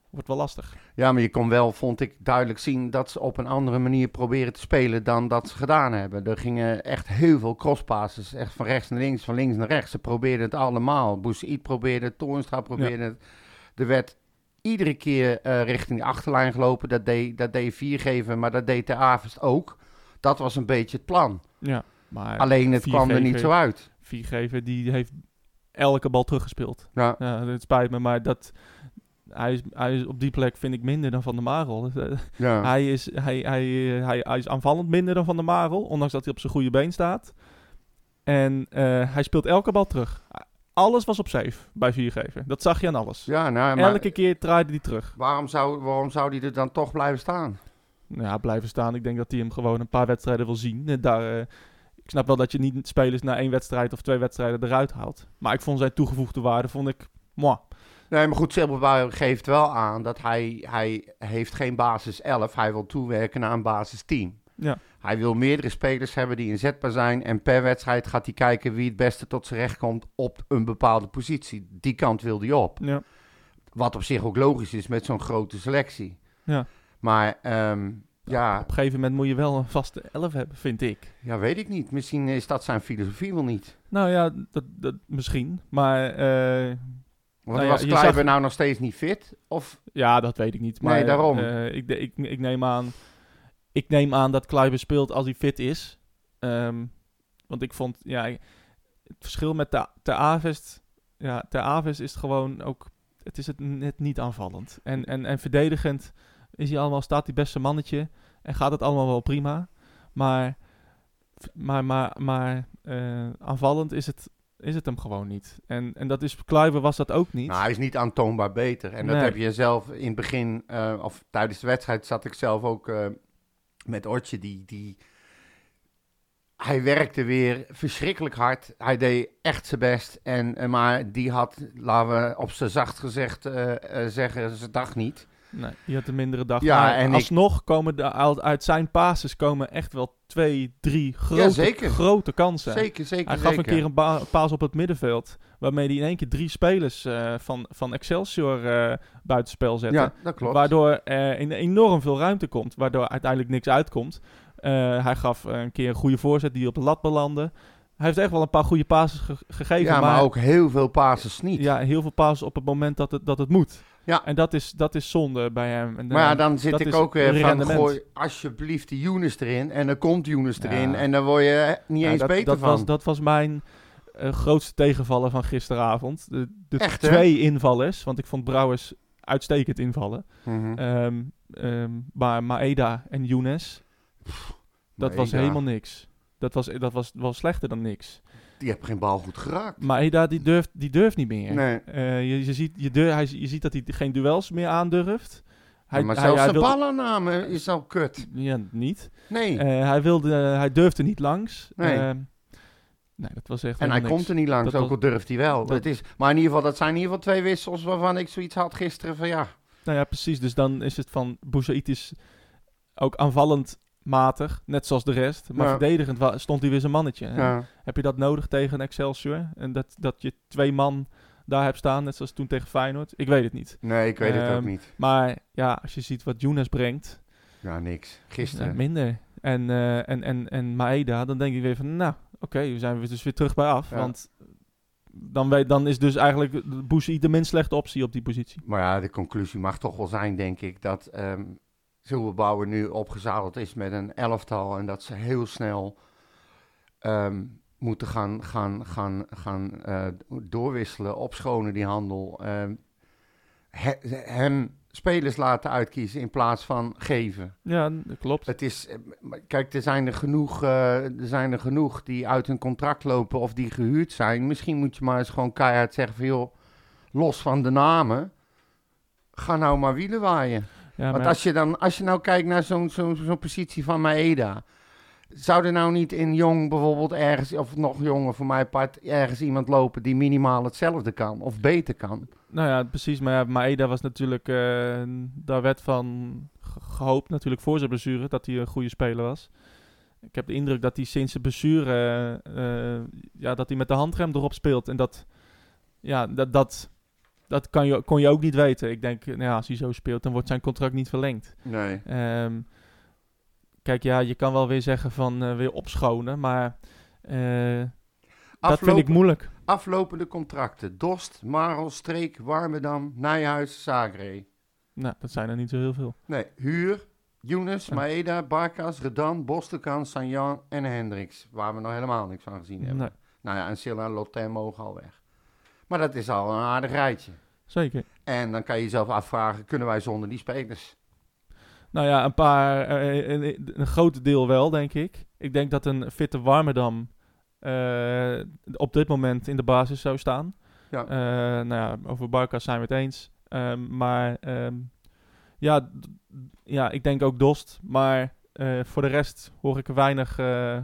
Speaker 1: Wordt wel lastig.
Speaker 2: Ja, maar je kon wel, vond ik, duidelijk zien dat ze op een andere manier proberen te spelen dan dat ze gedaan hebben. Er gingen echt heel veel crosspasses, echt van rechts naar links, van links naar rechts. Ze probeerden het allemaal. Boussaïd probeerde het, Toornstra probeerde het. Er werd iedere keer eh, richting de achterlijn gelopen. Dat deed, dat deed Viergever, maar dat deed de Avest ook. Dat was een beetje het plan.
Speaker 1: Ja, maar
Speaker 2: Alleen het kwam er niet
Speaker 1: Viergever-
Speaker 2: zo uit.
Speaker 1: Viergever, die heeft elke bal teruggespeeld.
Speaker 2: Ja.
Speaker 1: Ja, het spijt me, maar dat... Hij is, hij is op die plek vind ik minder dan Van der Marel. Dus, eh,
Speaker 2: Ja.
Speaker 1: Hij is, hij, hij, eh, hij, hij is aanvallend minder dan Van der Marel, ondanks dat hij op zijn goede been staat. En eh, hij speelt elke bal terug. Alles was op safe bij viergever. Dat zag je aan alles.
Speaker 2: ja, nou, maar
Speaker 1: Elke keer draaide hij terug.
Speaker 2: waarom zou, waarom zou die er dan toch blijven staan?
Speaker 1: Nou, ja, blijven staan. Ik denk dat hij hem gewoon een paar wedstrijden wil zien. Eh, Daar, eh, ik snap wel dat je niet spelers na één wedstrijd of twee wedstrijden eruit haalt. Maar ik vond zijn toegevoegde waarde, vond ik, moi.
Speaker 2: Nee, maar goed, Silberbouw geeft wel aan dat hij, hij heeft geen basis 11. Hij wil toewerken naar een basis 10.
Speaker 1: Ja.
Speaker 2: Hij wil meerdere spelers hebben die inzetbaar zijn. En per wedstrijd gaat hij kijken wie het beste tot zijn recht komt op een bepaalde positie. Die kant wil hij op.
Speaker 1: Ja.
Speaker 2: Wat op zich ook logisch is met zo'n grote selectie.
Speaker 1: Ja.
Speaker 2: Maar ehm, ja,
Speaker 1: Op een gegeven moment moet je wel een vaste elf hebben, vind ik.
Speaker 2: ja, weet ik niet. Misschien is dat zijn filosofie wel niet.
Speaker 1: Nou ja, dat, dat, misschien. Maar eh,
Speaker 2: Want
Speaker 1: Nou ja,
Speaker 2: was
Speaker 1: je
Speaker 2: Kleiber
Speaker 1: zag-
Speaker 2: nou nog steeds niet fit? Of
Speaker 1: Ja, dat weet ik niet.
Speaker 2: Nee,
Speaker 1: Maar,
Speaker 2: daarom.
Speaker 1: eh, ik, de- ik, ik, neem aan, ik neem aan dat Kluivert speelt als hij fit is. Ehm, want ik vond, ja, ik- het verschil met de, de Avest, ja, de Avest is het gewoon ook, het is het net niet aanvallend. En, en, en verdedigend is hij allemaal, staat hij beste mannetje en gaat het allemaal wel prima. Maar Maar, maar, maar eh, aanvallend is het, is het hem gewoon niet. En, en dat is, Kluiver was dat ook niet.
Speaker 2: Nou, hij is niet aantoonbaar beter. En dat
Speaker 1: Nee.
Speaker 2: heb je zelf in het begin, eh, of tijdens de wedstrijd, zat ik zelf ook eh, met Ortje. Die, die... Hij werkte weer verschrikkelijk hard. Hij deed echt zijn best. En, eh, maar die had, laten we op zijn zacht gezegd eh, eh, zeggen, zijn dag niet.
Speaker 1: Nee, die had een mindere dag.
Speaker 2: Ja,
Speaker 1: maar
Speaker 2: en ik-
Speaker 1: alsnog komen de, uit- uit zijn passes komen echt wel twee, drie grote,
Speaker 2: zeker.
Speaker 1: grote kansen.
Speaker 2: Zeker, zeker.
Speaker 1: Hij gaf
Speaker 2: zeker.
Speaker 1: een keer een ba- paas op het middenveld. Waarmee hij in één keer drie spelers eh, van, van Excelsior eh buitenspel zette.
Speaker 2: Ja, dat klopt.
Speaker 1: Waardoor er in enorm veel ruimte komt. Waardoor uiteindelijk niks uitkomt. Eh, hij gaf eh, een keer een goede voorzet die op de lat belandde. Hij heeft echt wel een paar goede passes ge- gegeven.
Speaker 2: ja, maar, ook heel veel passes niet.
Speaker 1: Ja, heel veel passes op het moment dat het, dat het moet.
Speaker 2: Ja.
Speaker 1: En dat is, dat is zonde bij hem. En,
Speaker 2: Maar ja,
Speaker 1: eh,
Speaker 2: dan zit
Speaker 1: dat
Speaker 2: ik
Speaker 1: is
Speaker 2: ook weer van,
Speaker 1: rendement.
Speaker 2: gooi alsjeblieft die Younes erin. En dan komt Younes
Speaker 1: Ja.
Speaker 2: erin en dan word je eh, niet
Speaker 1: ja, Nou,
Speaker 2: eens
Speaker 1: dat,
Speaker 2: beter
Speaker 1: dat
Speaker 2: van.
Speaker 1: Was, dat was mijn eh, grootste tegenvaller van gisteravond. De, de
Speaker 2: Echt, hè?
Speaker 1: twee invallers, want ik vond Brouwers uitstekend invallen.
Speaker 2: Mhm.
Speaker 1: Ehm, ehm, maar Maeda en Younes, dat was
Speaker 2: Maeda,
Speaker 1: helemaal niks. Dat was, dat was wel slechter dan niks.
Speaker 2: Die heeft geen bal goed geraakt.
Speaker 1: Maeda, die durft, die durft niet meer.
Speaker 2: Nee.
Speaker 1: Eh, je, je, ziet, je, dur- hij, je ziet dat hij geen duels meer aandurft. Hij,
Speaker 2: Ja, maar
Speaker 1: hij-
Speaker 2: zelfs
Speaker 1: hij
Speaker 2: de
Speaker 1: wil-
Speaker 2: ballaanname is al kut.
Speaker 1: Ja, niet.
Speaker 2: Nee.
Speaker 1: Eh, hij, wilde, hij durfde niet langs.
Speaker 2: Nee.
Speaker 1: Ehm, nee, dat was echt
Speaker 2: en hij
Speaker 1: helemaal niks.
Speaker 2: komt er niet langs,
Speaker 1: Dat
Speaker 2: ook al
Speaker 1: was-
Speaker 2: durft hij wel.
Speaker 1: dat-
Speaker 2: Het is, maar in ieder geval, dat zijn in ieder geval twee wissels waarvan ik zoiets had gisteren van ja.
Speaker 1: Nou ja, precies. Dus dan is het van Bouzzaïd is ook aanvallend matig, net zoals de rest. Maar
Speaker 2: Ja.
Speaker 1: verdedigend wa- stond hij weer zijn mannetje. hè.
Speaker 2: ja.
Speaker 1: Heb je dat nodig tegen Excelsior? En dat, dat je twee man daar hebt staan, net zoals toen tegen Feyenoord? Ik weet het niet.
Speaker 2: Nee, ik weet het ook
Speaker 1: Ehm,
Speaker 2: niet.
Speaker 1: Maar ja, als je ziet wat Younes brengt,
Speaker 2: Ja, niks.
Speaker 1: eh,
Speaker 2: Gisteren.
Speaker 1: minder. En, eh, en, en, en Maeda, dan denk ik weer van, nou, oké, we zijn we dus weer terug bij af.
Speaker 2: Ja.
Speaker 1: Want dan, weet, dan is dus eigenlijk Bouzzaïd de minst slechte optie op die positie.
Speaker 2: Maar ja, de conclusie mag toch wel zijn, denk ik, dat ehm Zilberbouwer nu opgezadeld is met een elftal. En dat ze heel snel ehm, moeten gaan, gaan, gaan, gaan eh, doorwisselen, opschonen die handel. ehm, he- hem spelers laten uitkiezen in plaats van geven.
Speaker 1: Ja, dat klopt.
Speaker 2: Het is, eh, maar kijk, er zijn er, genoeg, eh, er zijn er genoeg die uit hun contract lopen of die gehuurd zijn. Misschien moet je maar eens gewoon keihard zeggen van joh, los van de namen, ga nou maar wielen waaien.
Speaker 1: Ja,
Speaker 2: Want
Speaker 1: maar-
Speaker 2: als je, dan, als je nou kijkt naar zo'n zo'n zo'n positie van Maeda, zou er nou niet in Jong bijvoorbeeld ergens, of nog jonger voor mijn part, ergens iemand lopen die minimaal hetzelfde kan of beter kan?
Speaker 1: Nou ja, precies. Maar ja, Maeda was natuurlijk... eh, daar werd van ge- gehoopt natuurlijk voor zijn blessure... dat hij een goede speler was. Ik heb de indruk dat hij sinds zijn blessure... eh, eh, ja, dat hij met de handrem erop speelt. En dat... Ja, dat... dat dat kan je, kon je ook niet weten. Ik denk, nou ja, als hij zo speelt, dan wordt zijn contract niet verlengd.
Speaker 2: Nee.
Speaker 1: Ehm, kijk, ja, je kan wel weer zeggen van eh, weer opschonen, maar eh, dat vind ik moeilijk.
Speaker 2: Aflopende contracten. Dorst, Marel, Streek, Warmedam, Nijhuis, Zagree.
Speaker 1: Nou, dat zijn er niet zo heel veel.
Speaker 2: Nee, Huur, Younes,
Speaker 1: Ja.
Speaker 2: Maeda, Barkas, Redan, Bostelkan, Sanjan en Hendricks. Waar we nog helemaal niks van gezien hebben.
Speaker 1: Nee,
Speaker 2: Nou ja, en Silla en Lotin mogen al weg. Maar dat is al een aardig rijtje.
Speaker 1: zeker.
Speaker 2: En dan kan je jezelf afvragen, kunnen wij zonder die spelers?
Speaker 1: Nou ja, een paar, eh, een, een groot deel wel, denk ik. Ik denk dat een fitte Warmerdam eh, op dit moment in de basis zou staan.
Speaker 2: Ja.
Speaker 1: Eh, nou ja, over Barkas zijn we het eens. Ehm, maar ehm, ja, d- ja, ik denk ook Dost. Maar eh, voor de rest hoor ik weinig, eh,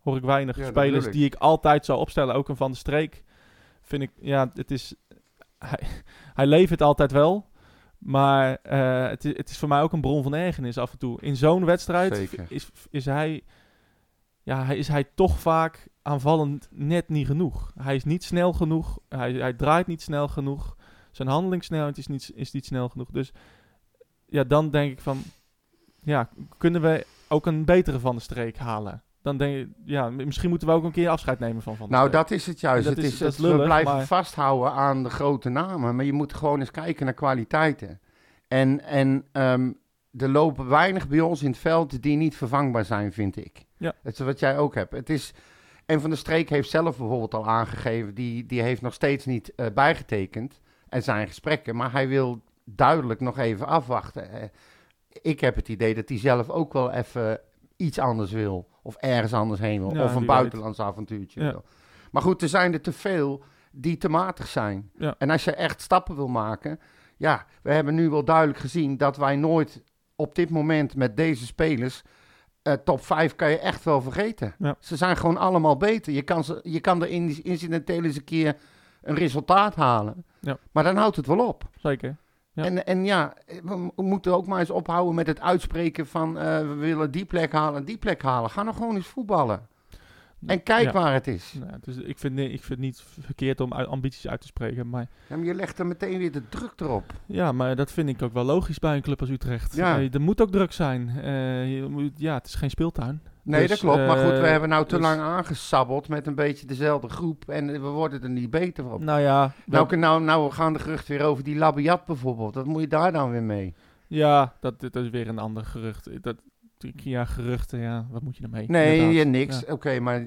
Speaker 1: hoor ik weinig
Speaker 2: Ja, dat
Speaker 1: spelers
Speaker 2: bedoel ik.
Speaker 1: die ik altijd zou opstellen. Ook een Van de Streek vind ik, ja, het is... Hij, hij levert altijd wel, maar eh, het, is, het is voor mij ook een bron van ergernis af en toe. In zo'n wedstrijd
Speaker 2: Zeker.
Speaker 1: is, is, hij, ja, hij, is hij toch vaak aanvallend net niet genoeg. Hij is niet snel genoeg, hij, hij draait niet snel genoeg. Zijn handelingssnelheid is niet, is niet snel genoeg. Dus ja, dan denk ik van, ja, kunnen we ook een betere Van de Streek halen? Dan denk ik, ja, m- misschien moeten we ook een keer afscheid nemen van Van der
Speaker 2: Nou,
Speaker 1: Streek.
Speaker 2: dat is het juist.
Speaker 1: Dat
Speaker 2: het
Speaker 1: is-
Speaker 2: is,
Speaker 1: dat
Speaker 2: het-
Speaker 1: is lullig,
Speaker 2: we blijven
Speaker 1: maar-
Speaker 2: vasthouden aan de grote namen. Maar je moet gewoon eens kijken naar kwaliteiten. En, en ehm, er lopen weinig bij ons in het veld die niet vervangbaar zijn, vind ik.
Speaker 1: Ja.
Speaker 2: Dat is wat jij ook hebt. Het is, en Van der Streek heeft zelf bijvoorbeeld al aangegeven... die, die heeft nog steeds niet eh, bijgetekend. Er zijn gesprekken, maar hij wil duidelijk nog even afwachten. Eh, ik heb het idee dat hij zelf ook wel even iets anders wil. Of ergens anders heen wil.
Speaker 1: Ja,
Speaker 2: of
Speaker 1: wie
Speaker 2: een
Speaker 1: weet.
Speaker 2: buitenlands avontuurtje
Speaker 1: Ja.
Speaker 2: wil. Maar goed, er zijn er te veel die te matig zijn.
Speaker 1: Ja.
Speaker 2: En als je echt stappen wil maken... Ja, we hebben nu wel duidelijk gezien dat wij nooit op dit moment met deze spelers... eh, top 5 kan je echt wel vergeten.
Speaker 1: Ja.
Speaker 2: Ze zijn gewoon allemaal beter. Je kan, ze, je kan er in- incidenteel eens een keer een resultaat halen.
Speaker 1: Ja.
Speaker 2: Maar dan houdt het wel op.
Speaker 1: Zeker. Ja.
Speaker 2: En, en ja, we m- moeten ook maar eens ophouden met het uitspreken van eh, we willen die plek halen en die plek halen. Ga nou gewoon eens voetballen. En kijk
Speaker 1: Ja.
Speaker 2: waar het is.
Speaker 1: Nou, dus ik vind ni- ik vind het niet verkeerd om ui- ambities uit te spreken. Maar
Speaker 2: Ja, maar je legt er meteen weer de druk erop.
Speaker 1: ja, maar dat vind ik ook wel logisch bij een club als Utrecht.
Speaker 2: Ja.
Speaker 1: Eh, er moet ook druk zijn. Eh, je moet, ja, het is geen speeltuin.
Speaker 2: Nee,
Speaker 1: Dus,
Speaker 2: dat klopt. maar goed, we
Speaker 1: eh,
Speaker 2: hebben nou te
Speaker 1: dus-
Speaker 2: lang aangesabbeld met een beetje dezelfde groep. En we worden er niet beter op.
Speaker 1: Nou ja,
Speaker 2: Nou, kun- nou, nou gaan de geruchten weer over die Labiat bijvoorbeeld. Wat moet je daar dan weer mee?
Speaker 1: ja dat, dat is weer een ander gerucht. Eh, Dat, ja, geruchten, ja, wat moet je ermee?
Speaker 2: Nee,
Speaker 1: Inderdaad.
Speaker 2: ja, niks.
Speaker 1: Ja.
Speaker 2: Oké, maar eh,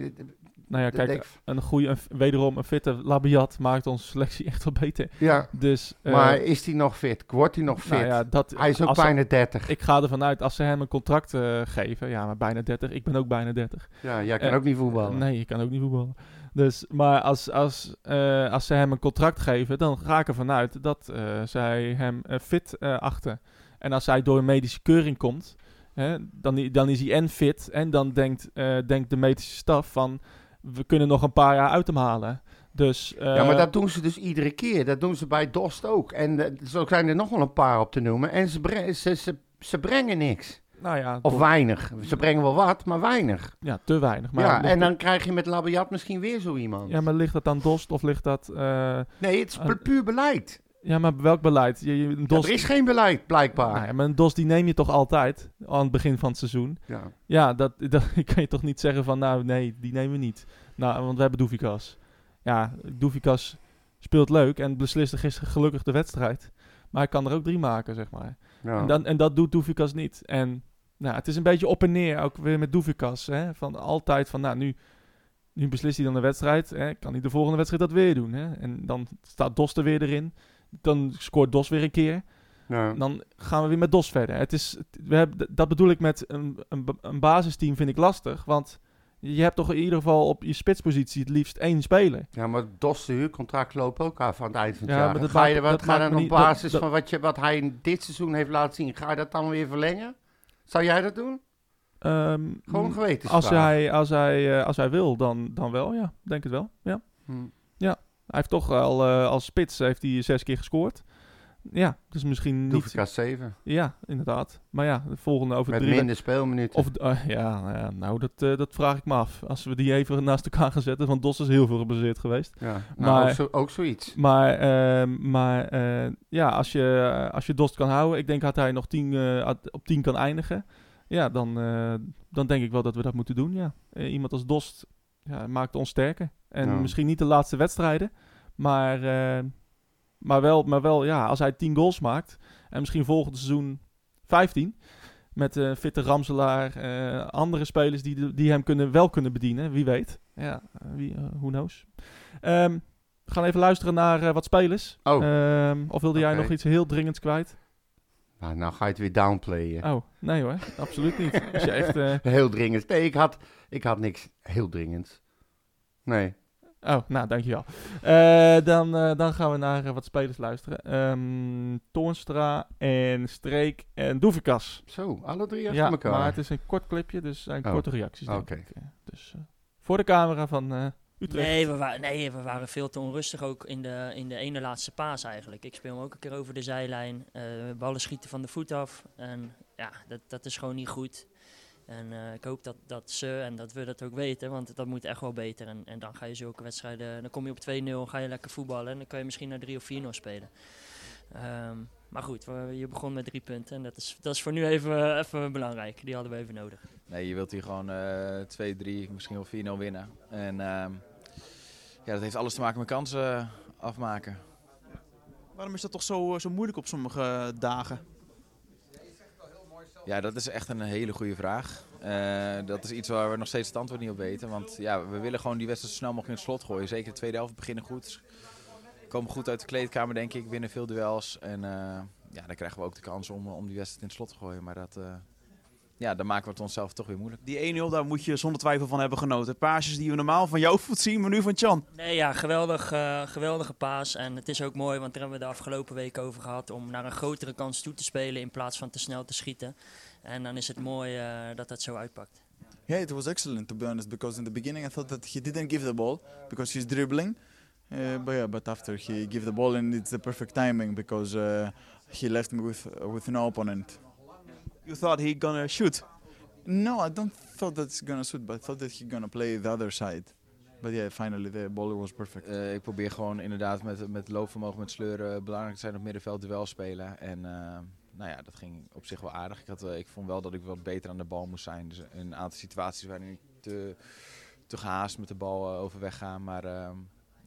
Speaker 1: Nou ja,
Speaker 2: dat
Speaker 1: kijk,
Speaker 2: denk-
Speaker 1: een goede, een f- wederom een fitte Labiat maakt onze selectie echt wel beter.
Speaker 2: ja.
Speaker 1: Dus, eh,
Speaker 2: maar is hij nog fit? Wordt hij nog fit?
Speaker 1: nou ja, dat,
Speaker 2: hij is ook
Speaker 1: als ze-
Speaker 2: bijna 30.
Speaker 1: ik ga ervan uit, als ze hem een contract eh, geven, ja, maar bijna 30, ik ben ook bijna 30.
Speaker 2: Ja, jij kan
Speaker 1: Eh,
Speaker 2: ook niet voetballen.
Speaker 1: Nee, je kan ook niet voetballen. Dus, maar als, als, eh, als ze hem een contract geven, dan ga ik ervan uit dat eh, zij hem eh, fit eh, achten. En als hij door een medische keuring komt, hè, dan, i- dan is hij en fit. En dan denkt, eh, denkt de medische staf van, we kunnen nog een paar jaar uit hem halen. Dus,
Speaker 2: Ja, maar
Speaker 1: eh,
Speaker 2: dat doen ze dus iedere keer. Dat doen ze bij Dost ook. En eh, zo zijn er nog wel een paar op te noemen. En ze, bre- ze, ze, ze brengen niks.
Speaker 1: nou ja,
Speaker 2: Of weinig. Ze brengen wel wat, maar weinig.
Speaker 1: ja, te weinig. Maar
Speaker 2: ja,
Speaker 1: ligt
Speaker 2: en
Speaker 1: dat-
Speaker 2: dan krijg je met Labiat misschien weer zo iemand.
Speaker 1: ja, maar ligt dat aan Dost of ligt dat... eh,
Speaker 2: Nee, het is pu-
Speaker 1: Ah,
Speaker 2: puur beleid.
Speaker 1: ja, maar welk beleid? Je, je- een
Speaker 2: Ja,
Speaker 1: Dost,
Speaker 2: er is geen beleid, blijkbaar.
Speaker 1: Nou ja, maar een DOS die neem je toch altijd aan het begin van het seizoen.
Speaker 2: ja.
Speaker 1: Ja, dat, dat kan je toch niet zeggen van nou nee, die nemen we niet. Nou, want we hebben Doefikas. Ja, Doefikas speelt leuk en besliste gisteren gelukkig de wedstrijd. Maar hij kan er ook drie maken, zeg maar.
Speaker 2: Ja.
Speaker 1: En, dan, en dat doet Doefikas niet. En nou, het is een beetje op en neer, ook weer met Doefikas. Hè? Van altijd van, nou, nu, nu beslist hij dan de wedstrijd. Hè? Kan hij de volgende wedstrijd dat weer doen? Hè? En dan staat Dos er weer erin. Dan scoort Dos weer een keer.
Speaker 2: Ja.
Speaker 1: Dan gaan we weer met DOS verder. Het is, het- we hebben, dat bedoel ik met een, een, ba- een basisteam vind ik lastig. Want je hebt toch in ieder geval op je spitspositie het liefst één speler.
Speaker 2: Ja, maar Dost de huurcontract loopt ook af aan het eind van het
Speaker 1: Ja,
Speaker 2: jaar.
Speaker 1: maar dat
Speaker 2: ga je
Speaker 1: maakt-
Speaker 2: wat
Speaker 1: dat
Speaker 2: ga je
Speaker 1: maakt
Speaker 2: dan
Speaker 1: me
Speaker 2: op
Speaker 1: niet- dat-
Speaker 2: basis
Speaker 1: dat-
Speaker 2: van wat, je, wat hij dit seizoen heeft laten zien, ga je dat dan weer verlengen? Zou jij dat doen?
Speaker 1: Ehm,
Speaker 2: Gewoon geweten.
Speaker 1: als, hij, als, hij, eh, als hij wil, dan, dan wel. Ja, denk het wel. Ja.
Speaker 2: Mm.
Speaker 1: Hij heeft toch al eh, als spits heeft hij zes keer gescoort. Ja, dus misschien
Speaker 2: Doe
Speaker 1: niet.
Speaker 2: ik 7.
Speaker 1: Ja, inderdaad. Maar ja, de volgende over
Speaker 2: Met
Speaker 1: drie.
Speaker 2: minder speelminuten.
Speaker 1: Of, eh, ja, nou ja, nou, dat, eh, dat vraag ik me af. Als we die even naast elkaar gaan zetten, want Dos is heel veel gebaseerd geweest.
Speaker 2: ja, nou,
Speaker 1: maar-
Speaker 2: ook, zo, ook zoiets.
Speaker 1: Maar, ehm, maar eh, ja, als je, eh, als je Dost kan houden, ik denk dat hij nog tien, eh, at- op 10 kan eindigen. Ja, dan, eh, dan denk ik wel dat we dat moeten doen. Ja. Eh, iemand als Dost ja, maakt ons sterker. En
Speaker 2: Ja.
Speaker 1: misschien niet de laatste wedstrijden, maar, eh, maar, wel, maar wel, ja, als hij 10 goals maakt en misschien volgend seizoen 15. Met eh fitte Ramselaar, eh, andere spelers die, de- die hem kunnen, wel kunnen bedienen, wie weet. Ja, eh, wie, eh, who knows. Ehm, we gaan even luisteren naar eh, wat spelers.
Speaker 2: Oh.
Speaker 1: Ehm, of wilde jij
Speaker 2: Oké.
Speaker 1: nog iets heel dringends kwijt?
Speaker 2: Nou, nou ga je het weer downplayen.
Speaker 1: Oh, nee hoor, absoluut niet. Als je echt, eh,
Speaker 2: Heel dringend. Nee, ik had, ik had niks heel dringend. Nee.
Speaker 1: Oh, nou, dankjewel. Eh dan, eh, dan gaan we naar eh, wat spelers luisteren. Ehm Toornstra en Streek en Doevikas.
Speaker 2: Zo, alle drie achter
Speaker 1: Ja,
Speaker 2: elkaar.
Speaker 1: maar het is een kort clipje, dus zijn
Speaker 2: Oh,
Speaker 1: korte reacties, denk
Speaker 2: oké.
Speaker 1: ik. Eh, Dus eh, voor de camera van eh, Utrecht.
Speaker 5: Nee we, wa- nee, we waren veel te onrustig ook in de, in de ene laatste paas eigenlijk. Ik speel hem ook een keer over de zijlijn. eh, ballen schieten van de voet af. En ja, dat, dat is gewoon niet goed. En eh, ik hoop dat, dat ze en dat we dat ook weten, want dat moet echt wel beter. En, en dan ga je zulke wedstrijden, dan kom je op 2-0, ga je lekker voetballen en dan kan je misschien naar 3 of 4-0 spelen. Ehm, maar goed, we- je begon met drie punten en dat is, dat is voor nu even, even belangrijk. Die hadden we even nodig.
Speaker 6: Nee, je wilt hier gewoon eh 2, 3, misschien wel 4-0 winnen. En ehm, ja, dat heeft alles te maken met kansen eh, afmaken.
Speaker 7: Waarom is dat toch zo, eh, zo moeilijk op sommige eh, dagen?
Speaker 6: Ja, dat is echt een hele goede vraag. Eh, dat is iets waar we nog steeds het antwoord niet op weten. Want ja, we willen gewoon die wedstrijd zo snel mogelijk in het slot gooien. Zeker de tweede helft beginnen goed. Komen goed uit de kleedkamer, denk ik. Winnen veel duels. En eh, ja, dan krijgen we ook de kans om, om die wedstrijd in het slot te gooien. Maar dat, eh, ja, dan maken we het onszelf toch weer moeilijk.
Speaker 7: Die 1-0, daar moet je zonder twijfel van hebben genoten. Paasjes die we normaal van jou voet zien, maar nu van Chan.
Speaker 5: Nee, ja, geweldig, eh, geweldige paas. En het is ook mooi, want daar hebben we de afgelopen week over gehad... om naar een grotere kans toe te spelen in plaats van te snel te schieten. En dan is het mooi eh, dat dat zo uitpakt.
Speaker 8: Yeah, it was excellent to be honest. Because in the beginning I thought that he didn't give the ball because he's dribbling, uh, but yeah, but after he gave the ball and it's the perfect timing because uh, he left me with with no opponent.
Speaker 7: You thought he gonna Eh, shoot.
Speaker 8: No, I don't thought that he's gonna shoot, but I thought that he's gonna play the other side. But yeah, finally the ball was perfect.
Speaker 6: Eh, ik probeer gewoon inderdaad met, met loopvermogen, met sleuren, belangrijk te zijn op middenveld, duel spelen. En eh, nou ja, dat ging op zich wel aardig. Ik, had, wel- ik vond wel dat ik wat beter aan de bal moest zijn. Dus in een aantal situaties waarin ik te, te gehaast met de bal eh, overweg ga. Maar eh,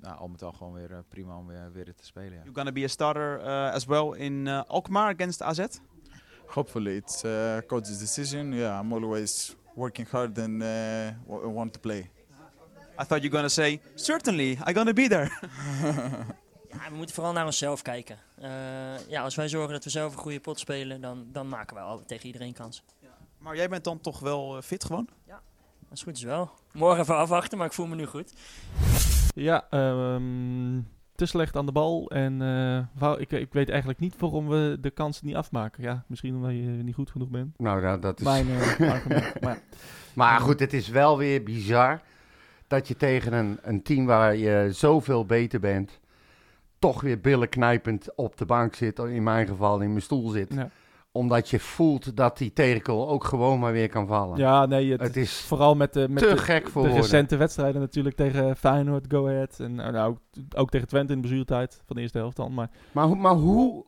Speaker 6: nou, al met al gewoon weer eh, prima om weer, weer te spelen. Ja.
Speaker 7: You're gonna be a starter eh, as well in eh, Alkmaar against AZ.
Speaker 8: Hopefully it's uh, coach's decision. Yeah, I'm always working hard and uh, w- want to play.
Speaker 7: I thought you're gonna say, certainly, I'm gonna be there.
Speaker 5: Ja, we moeten vooral naar onszelf kijken. Eh, ja, als wij zorgen dat we zelf een goede pot spelen... dan, dan maken we al tegen iedereen kans.
Speaker 7: Maar jij bent dan toch wel eh, fit gewoon?
Speaker 5: Dat is goed is wel. Morgen even afwachten, maar ik voel me nu goed.
Speaker 1: Ja, ehm, te slecht aan de bal. En eh, wou- ik, ik weet eigenlijk niet waarom we de kansen niet afmaken. Ja, misschien omdat je niet goed genoeg bent.
Speaker 2: Nou, nou, dat is...
Speaker 1: Mijn eh, argument. Maar
Speaker 2: Maar goed, het is wel weer bizar dat je tegen een, een team waar je zoveel beter bent, toch weer billenknijpend op de bank zit, of in mijn geval in mijn stoel zit.
Speaker 1: Ja.
Speaker 2: Omdat je voelt dat die tegenkool ook gewoon maar weer kan vallen.
Speaker 1: ja, nee, het,
Speaker 2: het is
Speaker 1: vooral met de, met
Speaker 2: te
Speaker 1: de,
Speaker 2: gek voor
Speaker 1: de
Speaker 2: woorden.
Speaker 1: recente wedstrijden natuurlijk tegen Feyenoord, Go Ahead. En eh, nou, ook, ook tegen Twente in de bezuurtijd van de eerste helft dan. Maar
Speaker 2: Maar, hoe- maar hoe,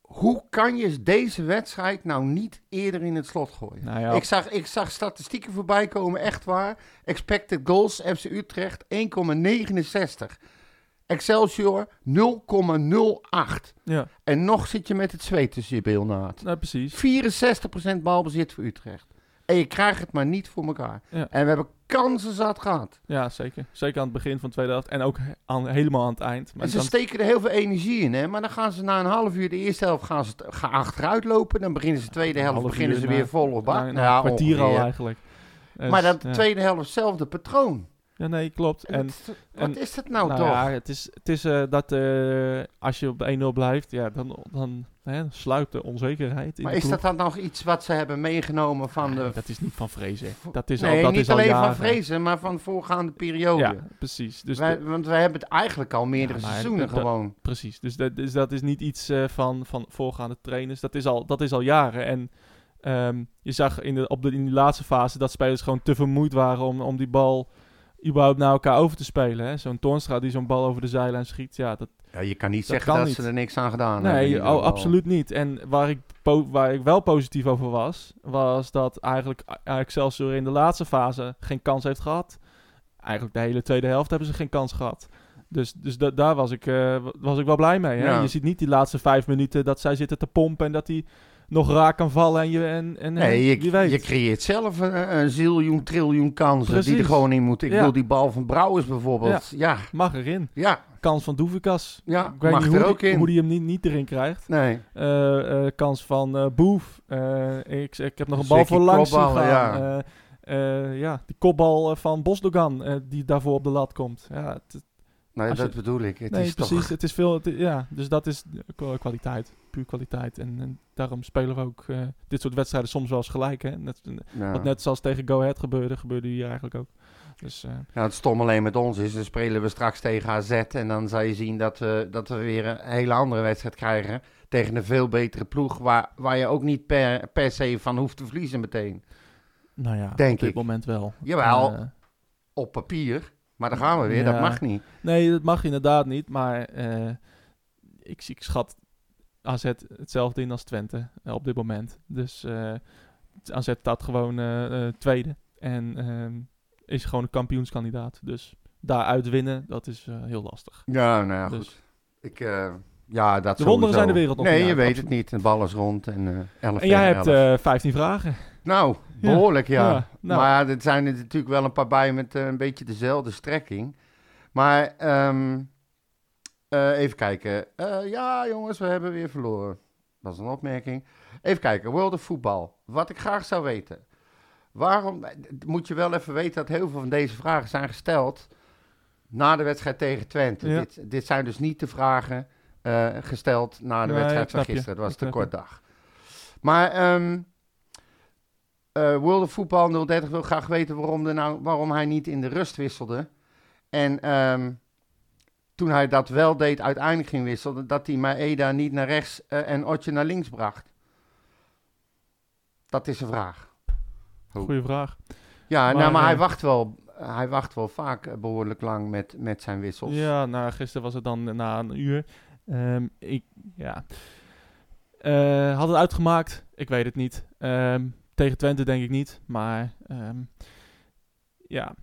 Speaker 2: hoe kan je deze wedstrijd nou niet eerder in het slot gooien?
Speaker 1: nou ja,
Speaker 2: Ik, zag, ik zag statistieken voorbij komen, echt waar. Expected goals, FC Utrecht 1,69. Excelsior 0,08.
Speaker 1: ja
Speaker 2: En nog zit je met het zweet tussen je bilnaad.
Speaker 1: nou, precies.
Speaker 2: 64% balbezit voor Utrecht. En je krijgt het maar niet voor elkaar.
Speaker 1: Ja.
Speaker 2: En we hebben kansen zat gehad.
Speaker 1: Ja, zeker. Zeker aan het begin van de tweede helft. En ook he- aan, helemaal aan het eind. Maar
Speaker 2: en ze
Speaker 1: dan-
Speaker 2: steken er heel veel energie in, hè? maar dan gaan ze na een half uur de eerste helft gaan ze t- gaan achteruit lopen. Dan beginnen ze de tweede
Speaker 1: een
Speaker 2: helft,
Speaker 1: half
Speaker 2: beginnen
Speaker 1: uur
Speaker 2: ze
Speaker 1: na-
Speaker 2: weer vol op
Speaker 1: na-
Speaker 2: bak. Nou
Speaker 1: na nou, een kwartier al
Speaker 2: ongeveer.
Speaker 1: eigenlijk. Dus,
Speaker 2: Maar dat de
Speaker 1: ja.
Speaker 2: tweede helft, hetzelfde patroon.
Speaker 1: Ja, nee, klopt. En,
Speaker 2: wat
Speaker 1: en-
Speaker 2: is dat nou,
Speaker 1: nou
Speaker 2: toch?
Speaker 1: ja, het is, het is eh, dat eh, als je op 1-0 blijft, ja, dan, dan hè, sluipt de onzekerheid in
Speaker 2: maar
Speaker 1: de
Speaker 2: is
Speaker 1: ploeg.
Speaker 2: dat dan nog iets wat ze hebben meegenomen van de...
Speaker 1: Dat is niet van vrezen. Dat is
Speaker 2: nee,
Speaker 1: al, dat
Speaker 2: niet
Speaker 1: is al
Speaker 2: alleen van
Speaker 1: jaren.
Speaker 2: vrezen, maar van voorgaande periode.
Speaker 1: Ja, precies. Dus
Speaker 2: Wij-
Speaker 1: de-
Speaker 2: want wij hebben het eigenlijk al meerdere
Speaker 1: Ja, maar
Speaker 2: seizoenen
Speaker 1: dat- dat-
Speaker 2: gewoon.
Speaker 1: precies. Dus dat, dus dat is niet iets eh, van, van voorgaande trainers. Dat is al, dat is al jaren. En ehm, je zag in, de, op de, in die laatste fase dat spelers gewoon te vermoeid waren om, om die bal überhaupt naar elkaar over te spelen. hè. Zo'n Toornstra die zo'n bal over de zijlijn schiet, ja, dat,
Speaker 2: Ja, je kan niet
Speaker 1: Dat
Speaker 2: zeggen
Speaker 1: kan
Speaker 2: dat
Speaker 1: niet.
Speaker 2: ze er niks aan gedaan hebben. in
Speaker 1: Nee,
Speaker 2: ieder
Speaker 1: oh,
Speaker 2: geval.
Speaker 1: absoluut niet. En waar ik, po- waar ik wel positief over was, was dat eigenlijk A- Excelsior in de laatste fase geen kans heeft gehad. Eigenlijk de hele tweede helft hebben ze geen kans gehad. Dus, dus da- daar was ik, eh, wa- was ik wel blij mee. Hè?
Speaker 2: Ja.
Speaker 1: Je ziet niet die laatste vijf minuten dat zij zitten te pompen en dat hij nog raak kan vallen en je, en, en,
Speaker 2: Nee,
Speaker 1: wie
Speaker 2: je,
Speaker 1: weet.
Speaker 2: je creëert zelf een, een ziljoen, triljoen kansen die er
Speaker 1: Precies.
Speaker 2: gewoon in moeten. Ik
Speaker 1: Ja.
Speaker 2: bedoel, die bal van Brouwers bijvoorbeeld. Ja,
Speaker 1: Mag erin.
Speaker 2: ja,
Speaker 1: Kans van Doevikas.
Speaker 2: ja.
Speaker 1: Ik weet
Speaker 2: mag
Speaker 1: niet
Speaker 2: er
Speaker 1: hoe,
Speaker 2: ook
Speaker 1: die,
Speaker 2: in.
Speaker 1: hoe die hem niet, niet erin krijgt.
Speaker 2: Nee,
Speaker 1: eh, eh, kans van eh, Boef. Eh, ik, ik heb nog een bal
Speaker 2: Zeker
Speaker 1: voor langs zien gaan.
Speaker 2: kopballen,
Speaker 1: Ja. ja, die kopbal eh, van Bosdogan eh, die daarvoor op de lat komt. Ja, het,
Speaker 2: nee
Speaker 1: Als
Speaker 2: dat
Speaker 1: je-
Speaker 2: bedoel ik. Het
Speaker 1: nee,
Speaker 2: is
Speaker 1: precies.
Speaker 2: toch...
Speaker 1: Het is veel, het- ja, dus dat is kwa- kwaliteit. Puur kwaliteit. En, en daarom spelen we ook eh, dit soort wedstrijden soms wel eens gelijk. Hè? Net,
Speaker 2: Ja.
Speaker 1: Wat net zoals tegen Go Ahead gebeurde, gebeurde hier eigenlijk ook. Dus eh,
Speaker 2: Ja, het stom alleen met ons is, dan spelen we straks tegen AZ en dan zal je zien dat we, dat we weer een hele andere wedstrijd krijgen tegen een veel betere ploeg waar, waar je ook niet per, per se van hoeft te verliezen meteen.
Speaker 1: nou ja,
Speaker 2: Denk
Speaker 1: op dit
Speaker 2: ik.
Speaker 1: moment wel.
Speaker 2: Jawel.
Speaker 1: Eh,
Speaker 2: Op papier, maar daar gaan we weer, dat
Speaker 1: Ja.
Speaker 2: mag niet.
Speaker 1: Nee, dat mag inderdaad niet. Maar eh, ik, zie- ik schat AZ hetzelfde in als Twente eh, op dit moment. Dus eh, AZ staat gewoon eh, eh, tweede. En ehm, is gewoon een kampioenskandidaat. Dus daaruit winnen, dat is eh, heel lastig.
Speaker 2: Ja, nou ja, goed.
Speaker 1: Dus.
Speaker 2: Ik, eh, ja, dat
Speaker 1: De wonderen
Speaker 2: sowieso.
Speaker 1: zijn de wereld nog
Speaker 2: Nee,
Speaker 1: niet
Speaker 2: je
Speaker 1: uit,
Speaker 2: weet
Speaker 1: absoluut.
Speaker 2: het niet. De bal is rond en eh 11
Speaker 1: En jij
Speaker 2: tegen
Speaker 1: hebt
Speaker 2: 11.
Speaker 1: eh, 15 vragen.
Speaker 2: Nou, behoorlijk ja.
Speaker 1: ja, nou.
Speaker 2: Maar er zijn er natuurlijk wel een paar bij met eh, een beetje dezelfde strekking. Maar ehm, eh, even kijken. Eh, ja, jongens, we hebben weer verloren. was een opmerking. Even kijken, World of Voetbal. Wat ik graag zou weten. Waarom, eh, d- moet je wel even weten dat heel veel van deze vragen zijn gesteld na de wedstrijd tegen Twente.
Speaker 1: Ja.
Speaker 2: Dit, dit zijn dus niet de vragen eh, gesteld na de
Speaker 1: Nee, ik
Speaker 2: wedstrijd van
Speaker 1: snap je.
Speaker 2: gisteren. Het was
Speaker 1: Ik
Speaker 2: te
Speaker 1: snap je.
Speaker 2: kort dag. Maar ehm eh, World of Football 030 wil graag weten waarom, er nou, waarom hij niet in de rust wisselde. En ehm, toen hij dat wel deed, uiteindelijk ging wisselen, dat hij Maeda niet naar rechts eh, en Otje naar links bracht. Dat is een vraag. Hoe?
Speaker 1: Goeie vraag.
Speaker 2: Ja, maar,
Speaker 1: Maar,
Speaker 2: nou, maar
Speaker 1: eh,
Speaker 2: hij, wacht wel, hij wacht wel vaak eh, behoorlijk lang met, met zijn wissels.
Speaker 1: Ja, nou, gisteren was het dan eh, na een uur. Ehm, ik, ja. Eh, had het uitgemaakt? Ik weet het niet. Ehm, tegen Twente denk ik niet, maar ehm, ja.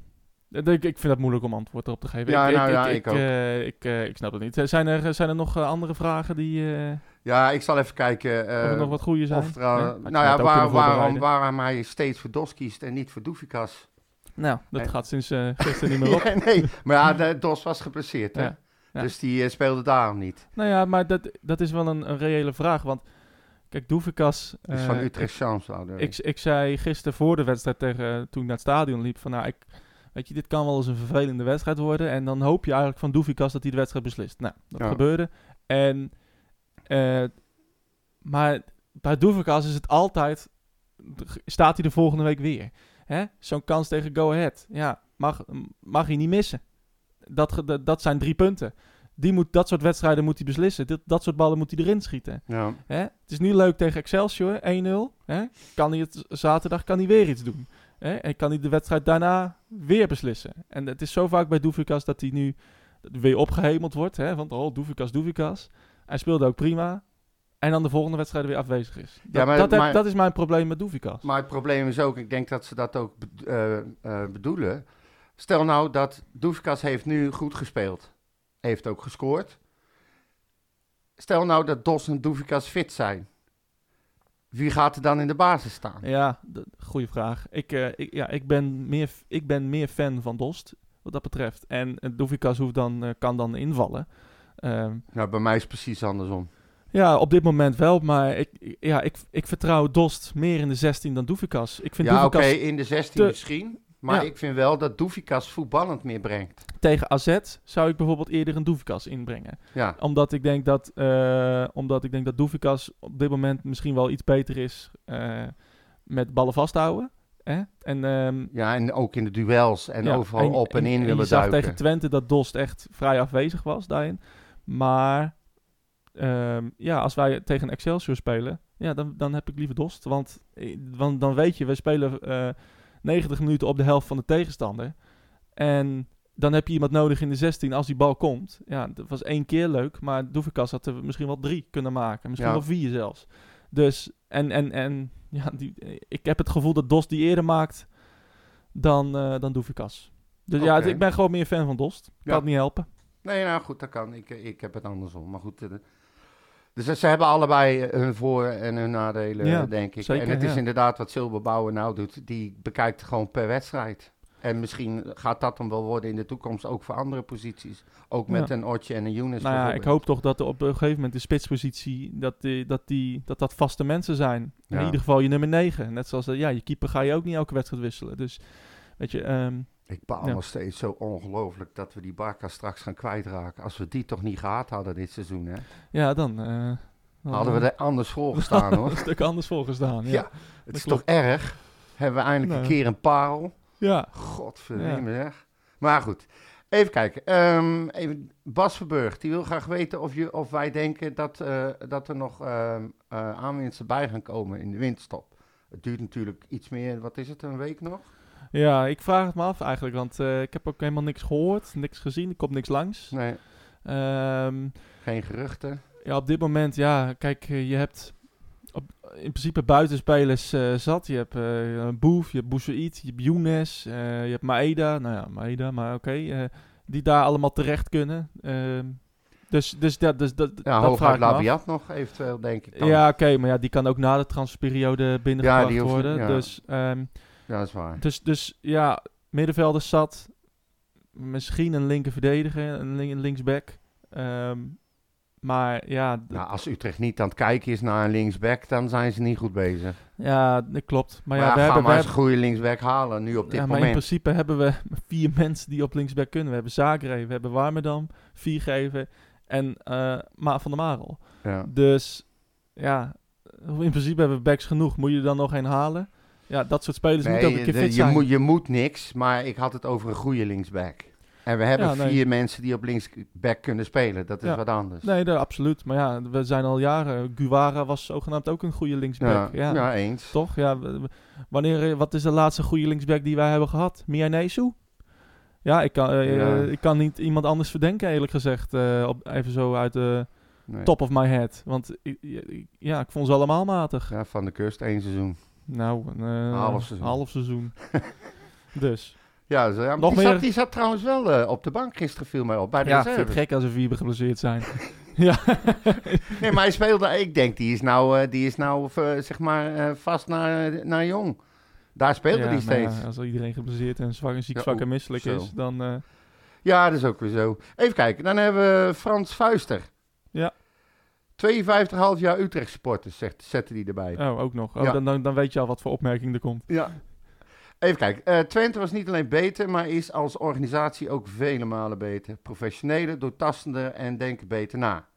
Speaker 1: Ik, ik vind dat moeilijk om antwoord erop te geven.
Speaker 2: Ja,
Speaker 1: ik,
Speaker 2: nou ja, ik ook.
Speaker 1: eh, ik, eh, ik snap het niet. Zijn er, zijn er nog eh, andere vragen die eh,
Speaker 2: Ja, ik zal even kijken eh,
Speaker 1: of er nog wat goede zijn?
Speaker 2: of er, eh,
Speaker 1: Nee? Had je
Speaker 2: nou ja,
Speaker 1: dat ook
Speaker 2: waar-
Speaker 1: kunnen
Speaker 2: waarom,
Speaker 1: voorbereiden?
Speaker 2: waarom hij steeds voor Dos kiest en niet voor Doefikas.
Speaker 1: Nou, dat
Speaker 2: Nee.
Speaker 1: gaat sinds eh, gisteren niet meer op.
Speaker 2: Ja, nee, maar ja, de- Dos was geblesseerd, hè?
Speaker 1: Ja, ja.
Speaker 2: Dus die eh, speelde daarom niet.
Speaker 1: Nou ja, maar dat, dat is wel een, een reële vraag, want kijk, Doevikas...
Speaker 2: Dus van Utrecht Champs
Speaker 1: Eh, Ik, ik zei gisteren voor de wedstrijd tegen, toen ik naar het stadion liep, van nou, ik, weet je, dit kan wel eens een vervelende wedstrijd worden. En dan hoop je eigenlijk van Doefikas dat hij de wedstrijd beslist. Nou, dat
Speaker 2: Ja.
Speaker 1: gebeurde. En, eh, maar bij Doefikas is het altijd, staat hij de volgende week weer. Hè? Zo'n kans tegen Go Ahead, ja, mag, mag hij niet missen. Dat, ge- dat, dat zijn drie punten. Die moet, dat soort wedstrijden moet hij beslissen. Dit, dat soort ballen moet hij erin schieten.
Speaker 2: Ja.
Speaker 1: Hè? Het is nu leuk tegen Excelsior, 1-0. Hè? Kan hij het zaterdag kan hij weer iets doen. Hè? En kan hij de wedstrijd daarna weer beslissen. En het is zo vaak bij Doevikas dat hij nu weer opgehemeld wordt. Hè? Want oh, Doevikas, Doevikas. Hij speelde ook prima. En dan de volgende wedstrijd weer afwezig is. Dat,
Speaker 2: Ja, maar-
Speaker 1: dat, heb-
Speaker 2: maar-
Speaker 1: dat is mijn probleem met Doevikas.
Speaker 2: Maar het probleem is ook, ik denk dat ze dat ook bed- eh, eh, bedoelen. Stel nou dat Doefkas heeft nu goed gespeeld. Heeft ook gescoord. Stel nou dat Dos en Doefikas fit zijn. Wie gaat er dan in de basis staan?
Speaker 1: Ja, d- goede vraag. Ik, eh, ik, ja, ik, ben meer, f- ik ben meer fan van Dost, wat dat betreft. En uh, Doevikas hoeft dan, eh, kan dan invallen. Ehm,
Speaker 2: Nou, bij mij is het precies andersom.
Speaker 1: Ja, op dit moment wel, maar ik, ik- ja, ik, ik vertrouw Dost meer in de 16 dan Doefikas. Ik vind
Speaker 2: ja, oké,
Speaker 1: Doefikas
Speaker 2: in de 16
Speaker 1: te-
Speaker 2: misschien. Maar
Speaker 1: Ja.
Speaker 2: ik vind wel dat Doefikas voetballend meer brengt.
Speaker 1: tegen AZ zou ik bijvoorbeeld eerder een Doefikas inbrengen.
Speaker 2: Ja,
Speaker 1: Omdat ik denk dat, eh omdat ik denk dat Doefikas op dit moment misschien wel iets beter is eh, met ballen vasthouden. Hè? En, ehm,
Speaker 2: ja en ook in de duels en
Speaker 1: ja,
Speaker 2: overal op en, in
Speaker 1: en
Speaker 2: willen
Speaker 1: je zag
Speaker 2: duiken.
Speaker 1: tegen Twente dat Dost echt vrij afwezig was daarin. Maar ehm, ja, als wij tegen Excelsior spelen, ja, dan, dan heb ik liever Dost. Want, eh, want dan weet je, we spelen eh 90 minuten op de helft van de tegenstander. En dan heb je iemand nodig in de 16 als die bal komt. Ja, dat was één keer leuk, maar Doevikas had er misschien wel drie kunnen maken. Misschien
Speaker 2: Ja.
Speaker 1: wel vier zelfs. Dus, en, en, en ja, die, eh, ik heb het gevoel dat Dost die eerder maakt dan, eh dan Doevikas. Dus ja,
Speaker 2: Oké.
Speaker 1: ik ben gewoon meer fan van Dost. Kan
Speaker 2: Ja.
Speaker 1: het niet helpen.
Speaker 2: Nee, nou goed, dat kan. Ik, ik heb het andersom. Maar goed, eh, dus ze- ze hebben allebei eh, hun voor- en hun nadelen,
Speaker 1: Ja,
Speaker 2: eh, denk ik.
Speaker 1: zeker,
Speaker 2: en het is
Speaker 1: ja.
Speaker 2: inderdaad wat Silberbouwer nou doet. Die bekijkt gewoon per wedstrijd. En misschien gaat dat dan wel worden in de toekomst ook voor andere posities. Ook met
Speaker 1: Ja.
Speaker 2: een Otje en een Younes
Speaker 1: Nou ja, ik
Speaker 2: bijvoorbeeld.
Speaker 1: hoop toch dat er op een gegeven moment de spitspositie, dat die, dat, die, dat, dat vaste mensen zijn.
Speaker 2: Ja.
Speaker 1: In ieder geval je nummer 9. Net zoals, dat, ja, je keeper ga je ook niet elke wedstrijd wisselen. Dus, weet je, ehm,
Speaker 2: Ik baal
Speaker 1: Ja.
Speaker 2: nog steeds zo ongelooflijk dat we die Barca straks gaan kwijtraken. Als we die toch niet gehad hadden dit seizoen, hè?
Speaker 1: ja, dan, eh, dan
Speaker 2: Hadden we er anders voor gestaan, hoor.
Speaker 1: een stuk anders voor gestaan. Ja,
Speaker 2: Ja,
Speaker 1: ja.
Speaker 2: Het is toch erg? Hebben we eindelijk een
Speaker 1: Nou.
Speaker 2: keer een parel? Godverdomme, zeg. Maar goed, even kijken. Ehm, even Bas Verburg, die wil graag weten of, je, of wij denken dat, eh, dat er nog ehm, eh, aanwinsten bij gaan komen in de winterstop. Het duurt natuurlijk iets meer, wat is het, een week nog?
Speaker 1: ja, ik vraag het me af eigenlijk, want eh, ik heb ook helemaal niks gehoord, niks gezien, er komt niks langs.
Speaker 2: Nee,
Speaker 1: Ehm,
Speaker 2: geen geruchten.
Speaker 1: Ja, op dit moment, ja, kijk, eh, je hebt op, in principe buitenspelers eh, zat. Je hebt eh, een Boef, je hebt Boussaïd, je hebt Younes, eh, je hebt Maeda. Nou ja, Maeda, maar oké. eh, die daar allemaal terecht kunnen. Ehm, dus, dus, dat dus dat, dat
Speaker 2: Ja,
Speaker 1: vraag
Speaker 2: hooguit
Speaker 1: ik me af.
Speaker 2: Labiat nog eventueel, denk ik dan.
Speaker 1: Ja, oké, maar ja, die kan ook na de transferperiode
Speaker 2: Ja,
Speaker 1: binnengebracht
Speaker 2: die hoeft-
Speaker 1: worden.
Speaker 2: ja.
Speaker 1: Dus, ehm,
Speaker 2: Ja, dat is waar.
Speaker 1: dus, dus ja, middenvelder zat. Misschien een linker verdediger, een, lin- een linksback. Ehm, Maar ja, d-
Speaker 2: Nou, als Utrecht niet aan het kijken is naar een linksback, dan zijn ze niet goed bezig.
Speaker 1: ja, dat klopt. Maar
Speaker 2: Maar
Speaker 1: ja,
Speaker 2: ja,
Speaker 1: we
Speaker 2: ga
Speaker 1: hebben, we
Speaker 2: maar eens
Speaker 1: hebben-
Speaker 2: een goede linksback halen nu op dit
Speaker 1: ja, maar in
Speaker 2: moment.
Speaker 1: principe hebben we vier mensen die op linksback kunnen. We hebben Zagreb, we hebben Warmerdam, Viergever en eh, Ma van der Marel.
Speaker 2: Ja.
Speaker 1: Dus ja, in principe hebben we backs genoeg. Moet je er dan nog een halen? Ja, dat soort spelers
Speaker 2: Nee,
Speaker 1: moeten ook een keer
Speaker 2: de-
Speaker 1: fit
Speaker 2: je,
Speaker 1: zijn.
Speaker 2: moet, je moet niks, maar ik had het over een goede linksback. En we hebben
Speaker 1: Ja, nee.
Speaker 2: vier mensen die op linksback kunnen spelen. Dat is
Speaker 1: Ja.
Speaker 2: wat anders.
Speaker 1: Nee, daar, absoluut. Maar ja, we zijn al jaren. Guwara was zogenaamd ook een goede
Speaker 2: ja,
Speaker 1: linksback.
Speaker 2: ja.
Speaker 1: Ja,
Speaker 2: eens.
Speaker 1: toch? Ja, w- w- wanneer, eh, wat is de laatste goede linksback die wij hebben gehad? Mianesu? Ja, ik kan, eh,
Speaker 2: Ja.
Speaker 1: eh, ik kan niet iemand anders verdenken, eerlijk gezegd. eh, op, even zo uit de
Speaker 2: Nee.
Speaker 1: top of my head. Want ik- ik- ja, ik vond ze allemaal matig.
Speaker 2: Ja, van de kust, één seizoen.
Speaker 1: Nou, eh,
Speaker 2: Half seizoen.
Speaker 1: half seizoen. dus.
Speaker 2: Ja, zo, ja, maar
Speaker 1: Nog
Speaker 2: die, zat,
Speaker 1: meer?
Speaker 2: die zat trouwens wel eh, op de bank gisteren, viel mij op, bij de
Speaker 1: Ja, vind het
Speaker 2: reserve.
Speaker 1: gek als er vier geblesseerd zijn. ja.
Speaker 2: Nee, maar hij speelde, ik denk, die is nou, eh, die is nou eh, zeg maar, eh, vast naar, naar Jong. Daar speelde
Speaker 1: Ja,
Speaker 2: hij
Speaker 1: maar ja,
Speaker 2: steeds.
Speaker 1: als al iedereen geblesseerd en zwak en ziek,
Speaker 2: Ja,
Speaker 1: zwak
Speaker 2: oeh,
Speaker 1: en misselijk
Speaker 2: zo.
Speaker 1: is, dan... eh,
Speaker 2: Ja, dat is ook weer zo. Even kijken, dan hebben we Frans Vuister.
Speaker 1: Ja.
Speaker 2: 52,5 jaar Utrecht supporters, zegt, zette die erbij. Ja.
Speaker 1: oh, ook nog. Oh,
Speaker 2: Ja.
Speaker 1: dan, dan, dan weet je al wat voor opmerking er komt.
Speaker 2: Even kijken, eh, Twente was niet alleen beter, maar is als organisatie ook vele malen beter. Professioneler, doortastender en denken beter na.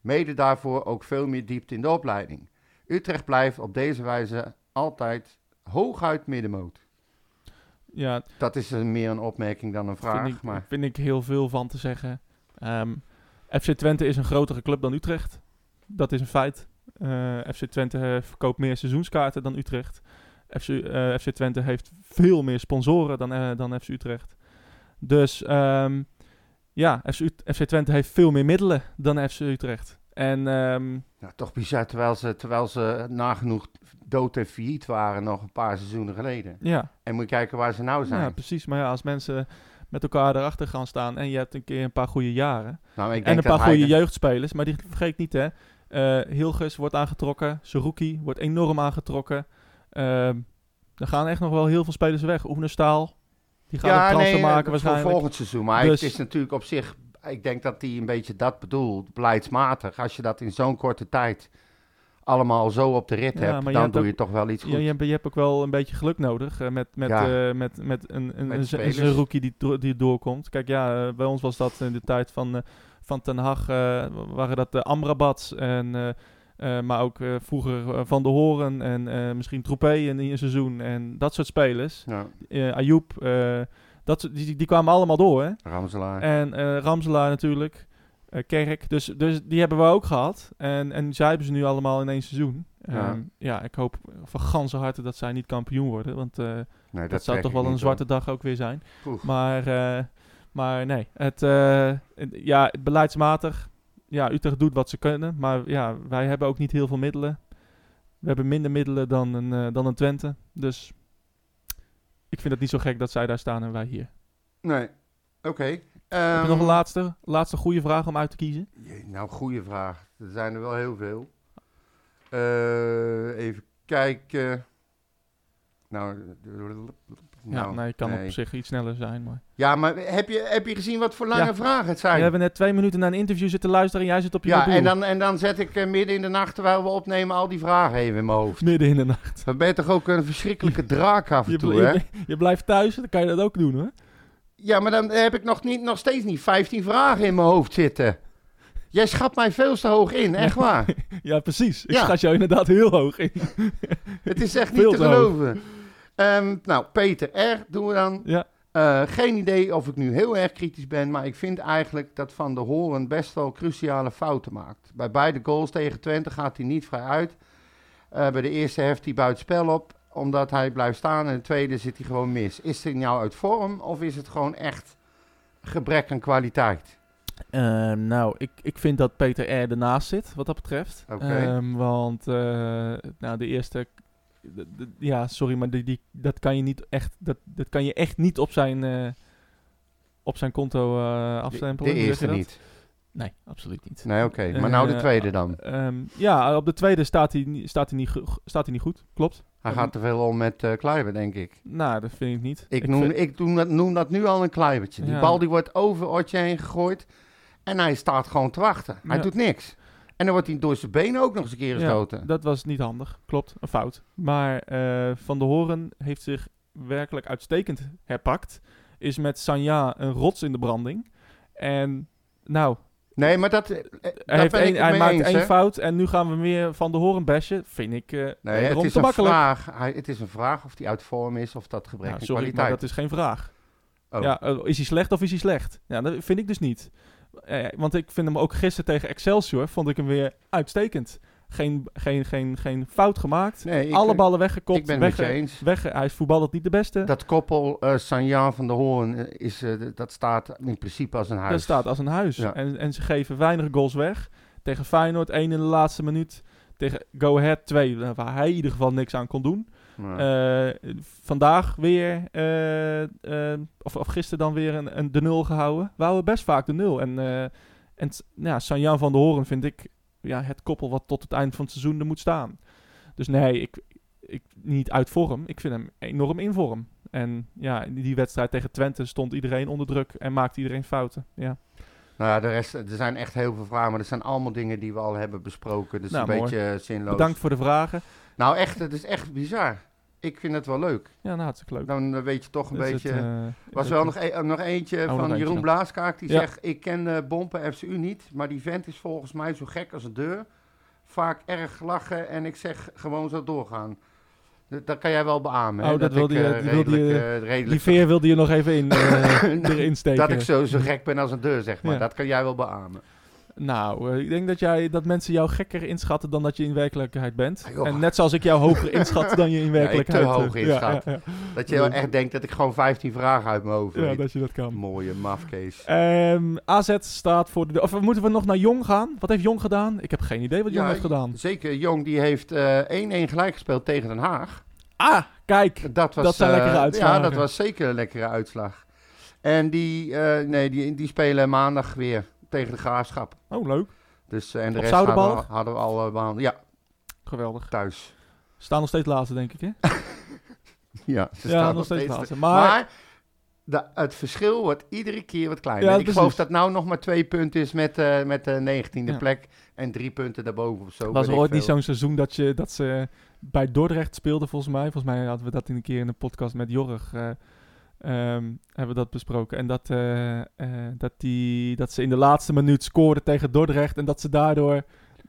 Speaker 2: Mede daarvoor ook veel meer diepte in de opleiding. Utrecht blijft op deze wijze altijd hooguit middenmoot.
Speaker 1: Ja,
Speaker 2: Dat is een- meer een opmerking dan een vraag,
Speaker 1: vind ik,
Speaker 2: maar...
Speaker 1: vind ik heel veel van te zeggen. Ehm, FC Twente is een grotere club dan Utrecht. Dat is een feit. Eh, FC Twente eh, verkoopt meer seizoenskaarten dan Utrecht. FC, eh, FC Twente heeft veel meer sponsoren dan, eh, dan FC Utrecht. Dus ehm, ja, FC, Ut- FC Twente heeft veel meer middelen dan FC Utrecht. En ehm,
Speaker 2: Nou, toch bizar, terwijl ze, terwijl ze nagenoeg dood en failliet waren nog een paar seizoenen geleden.
Speaker 1: ja,
Speaker 2: En moet je kijken waar ze nou zijn.
Speaker 1: ja, precies. Maar ja, als mensen met elkaar erachter gaan staan en je hebt een keer een paar goede jaren,
Speaker 2: nou, ik
Speaker 1: En
Speaker 2: denk
Speaker 1: een paar
Speaker 2: dat hij
Speaker 1: goede
Speaker 2: de-
Speaker 1: jeugdspelers, maar die vergeet niet hè. Eh Hilgers wordt aangetrokken, Seruki wordt enorm aangetrokken. Ehm, er gaan echt nog wel heel veel spelers weg. Oenestaal, die gaan
Speaker 2: ja,
Speaker 1: een transfer
Speaker 2: nee,
Speaker 1: maken
Speaker 2: eh, voor
Speaker 1: waarschijnlijk.
Speaker 2: volgend seizoen. Maar
Speaker 1: Dus-
Speaker 2: het is natuurlijk op zich, ik denk dat hij een beetje dat bedoelt, beleidsmatig. Als je dat in zo'n korte tijd allemaal zo op de rit
Speaker 1: Ja,
Speaker 2: hebt,
Speaker 1: maar je
Speaker 2: dan
Speaker 1: hebt
Speaker 2: doe
Speaker 1: ook-
Speaker 2: je toch wel iets goed.
Speaker 1: Ja, je, hebt, je hebt ook wel een beetje geluk nodig eh, met, met,
Speaker 2: Ja.
Speaker 1: eh, met, met een, een,
Speaker 2: Met
Speaker 1: een, een
Speaker 2: spelers.
Speaker 1: Zerouki die, do- die doorkomt. Kijk, ja, eh, bij ons was dat in de tijd van, eh, van Ten Hag, eh, waren dat de Amrabats en... eh, eh, maar ook eh, vroeger eh, Van de Horen en eh, misschien Troepé in een seizoen. En dat soort spelers.
Speaker 2: Ja,
Speaker 1: eh Ayoub, eh, dat, soort- die, die kwamen allemaal door. Hè?
Speaker 2: Ramselaar.
Speaker 1: En eh, Ramselaar natuurlijk, eh, Kerk. Dus, dus die hebben we ook gehad. En, en zij hebben ze nu allemaal in één seizoen.
Speaker 2: Ja.
Speaker 1: Ehm, ja, ik hoop van ganse harte dat zij niet kampioen worden. Want eh,
Speaker 2: nee,
Speaker 1: dat,
Speaker 2: dat
Speaker 1: zou
Speaker 2: trek
Speaker 1: toch
Speaker 2: ik
Speaker 1: wel
Speaker 2: niet,
Speaker 1: een
Speaker 2: hoor.
Speaker 1: zwarte dag ook weer zijn.
Speaker 2: Oef.
Speaker 1: Maar, eh, maar nee, het, eh, ja, beleidsmatig. Ja, Utrecht doet wat ze kunnen. Maar ja, wij hebben ook niet heel veel middelen. We hebben minder middelen dan een, eh, dan een Twente. Dus ik vind het niet zo gek dat zij daar staan en wij hier.
Speaker 2: Nee, oké.
Speaker 1: Heb
Speaker 2: Ehm,
Speaker 1: je nog een laatste, laatste goede vraag om uit te kiezen?
Speaker 2: Jee, nou, goede vraag. Er zijn er wel heel veel. Eh, even kijken. Nou,
Speaker 1: Ja,
Speaker 2: nou,
Speaker 1: nee, het kan
Speaker 2: nee.
Speaker 1: op zich iets sneller zijn. Maar...
Speaker 2: Ja, maar heb je, heb je gezien wat voor lange
Speaker 1: Ja.
Speaker 2: vragen het
Speaker 1: We
Speaker 2: zijn?
Speaker 1: hebben net twee minuten naar een interview zitten luisteren en jij zit op je
Speaker 2: ja,
Speaker 1: mobiel.
Speaker 2: en dan, en dan zet ik eh, midden in de nacht, terwijl we opnemen, al die vragen even in mijn hoofd.
Speaker 1: Midden in de nacht.
Speaker 2: Dan ben je toch ook een verschrikkelijke draak af
Speaker 1: Je,
Speaker 2: en toe,
Speaker 1: bl-
Speaker 2: hè?
Speaker 1: je, je blijft thuis, dan kan je dat ook doen hoor.
Speaker 2: Ja, maar dan heb ik nog, niet, nog steeds niet 15 vragen in mijn hoofd zitten. Jij schat mij veel te hoog in, echt waar.
Speaker 1: Ja, precies. Ik
Speaker 2: Ja.
Speaker 1: schat jou inderdaad heel hoog in.
Speaker 2: Het is echt
Speaker 1: Veel
Speaker 2: niet te
Speaker 1: te hoog.
Speaker 2: geloven. Ehm, nou, Peter R. doen we dan.
Speaker 1: Ja.
Speaker 2: Eh, geen idee of ik nu heel erg kritisch ben, maar ik vind eigenlijk dat Van der Horen best wel cruciale fouten maakt. Bij beide goals tegen Twente gaat hij niet vrij uit. Eh, bij de eerste heft hij buitenspel op, omdat hij blijft staan. En de tweede zit hij gewoon mis. Is hij nou uit vorm of is het gewoon echt gebrek aan kwaliteit?
Speaker 1: Ehm, nou, ik, ik vind dat Peter R. ernaast zit, wat dat betreft.
Speaker 2: Oké.
Speaker 1: Ehm, want, eh, nou, de eerste... de- de- ja, sorry, maar die, die, dat, kan je niet echt, dat, dat kan je echt niet op zijn, eh, op zijn conto eh
Speaker 2: De,
Speaker 1: afstempelen.
Speaker 2: de
Speaker 1: Hoe zeg je
Speaker 2: eerste
Speaker 1: dat?
Speaker 2: niet.
Speaker 1: Nee, absoluut niet.
Speaker 2: Nee, oké. Maar nou de
Speaker 1: Eh,
Speaker 2: tweede dan.
Speaker 1: Ehm, ja, op de tweede staat hij, ni- staat, hij niet, go- staat hij niet goed. Klopt.
Speaker 2: Hij gaat te veel om met eh Kluivert, denk ik.
Speaker 1: Nou, dat vind ik niet.
Speaker 2: Ik, noem,
Speaker 1: vind-
Speaker 2: ik doe dat, noem dat nu al een kluibertje. Die
Speaker 1: Ja.
Speaker 2: bal die wordt over Otje heen gegooid. En hij staat gewoon te wachten. Hij
Speaker 1: Ja.
Speaker 2: doet niks. En dan wordt hij door zijn benen ook nog eens een keer gestoten.
Speaker 1: dat was niet handig. Klopt, een fout. Maar eh, Van der Horen heeft zich werkelijk uitstekend herpakt. Is met Sanja een rots in de branding. En nou,
Speaker 2: Nee, maar dat, eh,
Speaker 1: hij,
Speaker 2: daar
Speaker 1: heeft
Speaker 2: ben ik
Speaker 1: één,
Speaker 2: het
Speaker 1: hij
Speaker 2: mee
Speaker 1: maakt
Speaker 2: eens,
Speaker 1: één
Speaker 2: hè.
Speaker 1: fout en nu gaan we weer Van der Horen bashen. Vind ik eh
Speaker 2: Nee,
Speaker 1: wederom
Speaker 2: het is,
Speaker 1: te
Speaker 2: een
Speaker 1: makkelijk.
Speaker 2: vraag, Hij- het is een vraag of die uit vorm is of dat gebrek
Speaker 1: Nou,
Speaker 2: aan
Speaker 1: sorry, maar
Speaker 2: kwaliteit.
Speaker 1: dat is geen vraag.
Speaker 2: Oh.
Speaker 1: Ja, eh, is hij slecht of is hij slecht? Ja, dat vind ik dus niet. Eh, want ik vind hem ook gisteren tegen Excelsior, vond ik hem weer uitstekend. Geen, geen, geen, geen fout gemaakt.
Speaker 2: nee, ik,
Speaker 1: Alle ballen weggekopt.
Speaker 2: ik ben het met
Speaker 1: wegge-
Speaker 2: je eens.
Speaker 1: Weg, hij is voetballend niet de beste. Dat,
Speaker 2: Dat koppel eh Sanjaan van der Hoorn, eh, is, eh, d- dat staat in principe als een huis.
Speaker 1: staat als een huis.
Speaker 2: Ja.
Speaker 1: En, en ze geven weinig goals weg. Tegen Feyenoord één in de laatste minuut. Tegen Go Ahead twee, eh, waar hij in ieder geval niks aan kon doen.
Speaker 2: Ja.
Speaker 1: Eh, vandaag weer, eh, eh, of, of gisteren dan weer, een, een de nul gehouden. We houden best vaak de nul. En, eh en t- nou ja, Sanjan van der Horen vind ik ja, het koppel wat tot het eind van het seizoen er moet staan. Dus nee, ik, ik, niet uit vorm. Ik vind hem enorm in vorm. En ja, in die wedstrijd tegen Twente stond iedereen onder druk en maakte iedereen fouten. Ja.
Speaker 2: Nou ja, de rest, er zijn echt heel veel vragen, maar er zijn allemaal dingen die we al hebben besproken. Dus
Speaker 1: Nou,
Speaker 2: een
Speaker 1: mooi.
Speaker 2: beetje eh, zinloos.
Speaker 1: Bedankt voor de vragen.
Speaker 2: Nou echt, het is echt bizar. Ik vind het wel leuk.
Speaker 1: Ja, nou, hartstikke leuk.
Speaker 2: Dan eh, weet je toch een
Speaker 1: Dat is
Speaker 2: beetje...
Speaker 1: het, eh,
Speaker 2: was
Speaker 1: dat-
Speaker 2: wel nog, e- eh, nog
Speaker 1: nog
Speaker 2: eentje van
Speaker 1: eentje
Speaker 2: Jeroen
Speaker 1: dan.
Speaker 2: Blaaskaak. Die
Speaker 1: Ja.
Speaker 2: zegt, ik ken eh Bompen FCU niet, maar die vent is volgens mij zo gek als een deur. Vaak erg lachen en ik zeg gewoon zo doorgaan. D- dat kan jij wel beamen. hè,
Speaker 1: Oh, dat wilde
Speaker 2: ik,
Speaker 1: je-
Speaker 2: eh,
Speaker 1: die wilde
Speaker 2: redelijk,
Speaker 1: je-
Speaker 2: eh, redelijk
Speaker 1: Die veer wilde je nog even in, eh, erin steken.
Speaker 2: Dat ik zo, zo gek ben als een deur, zeg maar.
Speaker 1: Ja.
Speaker 2: Dat kan jij wel beamen.
Speaker 1: Nou, eh, ik denk dat, jij, dat mensen jou gekker inschatten dan dat je in werkelijkheid bent.
Speaker 2: Ah, joh.
Speaker 1: en net zoals ik jou hoger inschat dan je in werkelijkheid
Speaker 2: te hoog
Speaker 1: eh, ja,
Speaker 2: inschat.
Speaker 1: Ja, ja,
Speaker 2: Dat je wel echt denkt dat ik gewoon 15 vragen uit mijn hoofd
Speaker 1: Ja,
Speaker 2: weet.
Speaker 1: dat je dat kan.
Speaker 2: Mooie mafkees.
Speaker 1: Ehm, AZ staat voor de... Of moeten we nog naar Jong gaan? Wat heeft Jong gedaan? Ik heb geen idee wat Jong
Speaker 2: Ja,
Speaker 1: heeft gedaan.
Speaker 2: Zeker, Jong die heeft eh, 1-1 gelijk gespeeld tegen Den Haag.
Speaker 1: Ah, kijk.
Speaker 2: Dat, was,
Speaker 1: Dat zijn
Speaker 2: eh,
Speaker 1: lekkere
Speaker 2: Ja,
Speaker 1: uitslagen.
Speaker 2: dat was zeker een lekkere uitslag. En die, eh, nee, die, die spelen maandag weer tegen de Graafschap.
Speaker 1: Oh, leuk.
Speaker 2: Dus, eh, en de
Speaker 1: Op
Speaker 2: rest hadden we, al-
Speaker 1: Zoudenbalg?
Speaker 2: hadden we al eh, behandeld. Ja,
Speaker 1: Geweldig.
Speaker 2: thuis.
Speaker 1: Staan nog steeds laatste, denk ik, hè?
Speaker 2: Ja, ze
Speaker 1: ja,
Speaker 2: staan
Speaker 1: nog steeds laatste.
Speaker 2: Maar,
Speaker 1: Maar,
Speaker 2: de- het verschil wordt iedere keer wat kleiner.
Speaker 1: Ja,
Speaker 2: ik
Speaker 1: precies.
Speaker 2: geloof dat nou nog maar twee punten is met, eh, met de negentiende
Speaker 1: Ja.
Speaker 2: plek. En drie punten daarboven of zo.
Speaker 1: was
Speaker 2: weet
Speaker 1: er
Speaker 2: ik
Speaker 1: ooit niet
Speaker 2: veel.
Speaker 1: zo'n seizoen dat, je, dat ze bij Dordrecht speelden, volgens mij. Volgens mij hadden we dat in een keer in een podcast met Jorg... eh, ehm, hebben we dat besproken. En dat, eh, eh, dat, die, dat ze in de laatste minuut scoorden tegen Dordrecht... en dat ze daardoor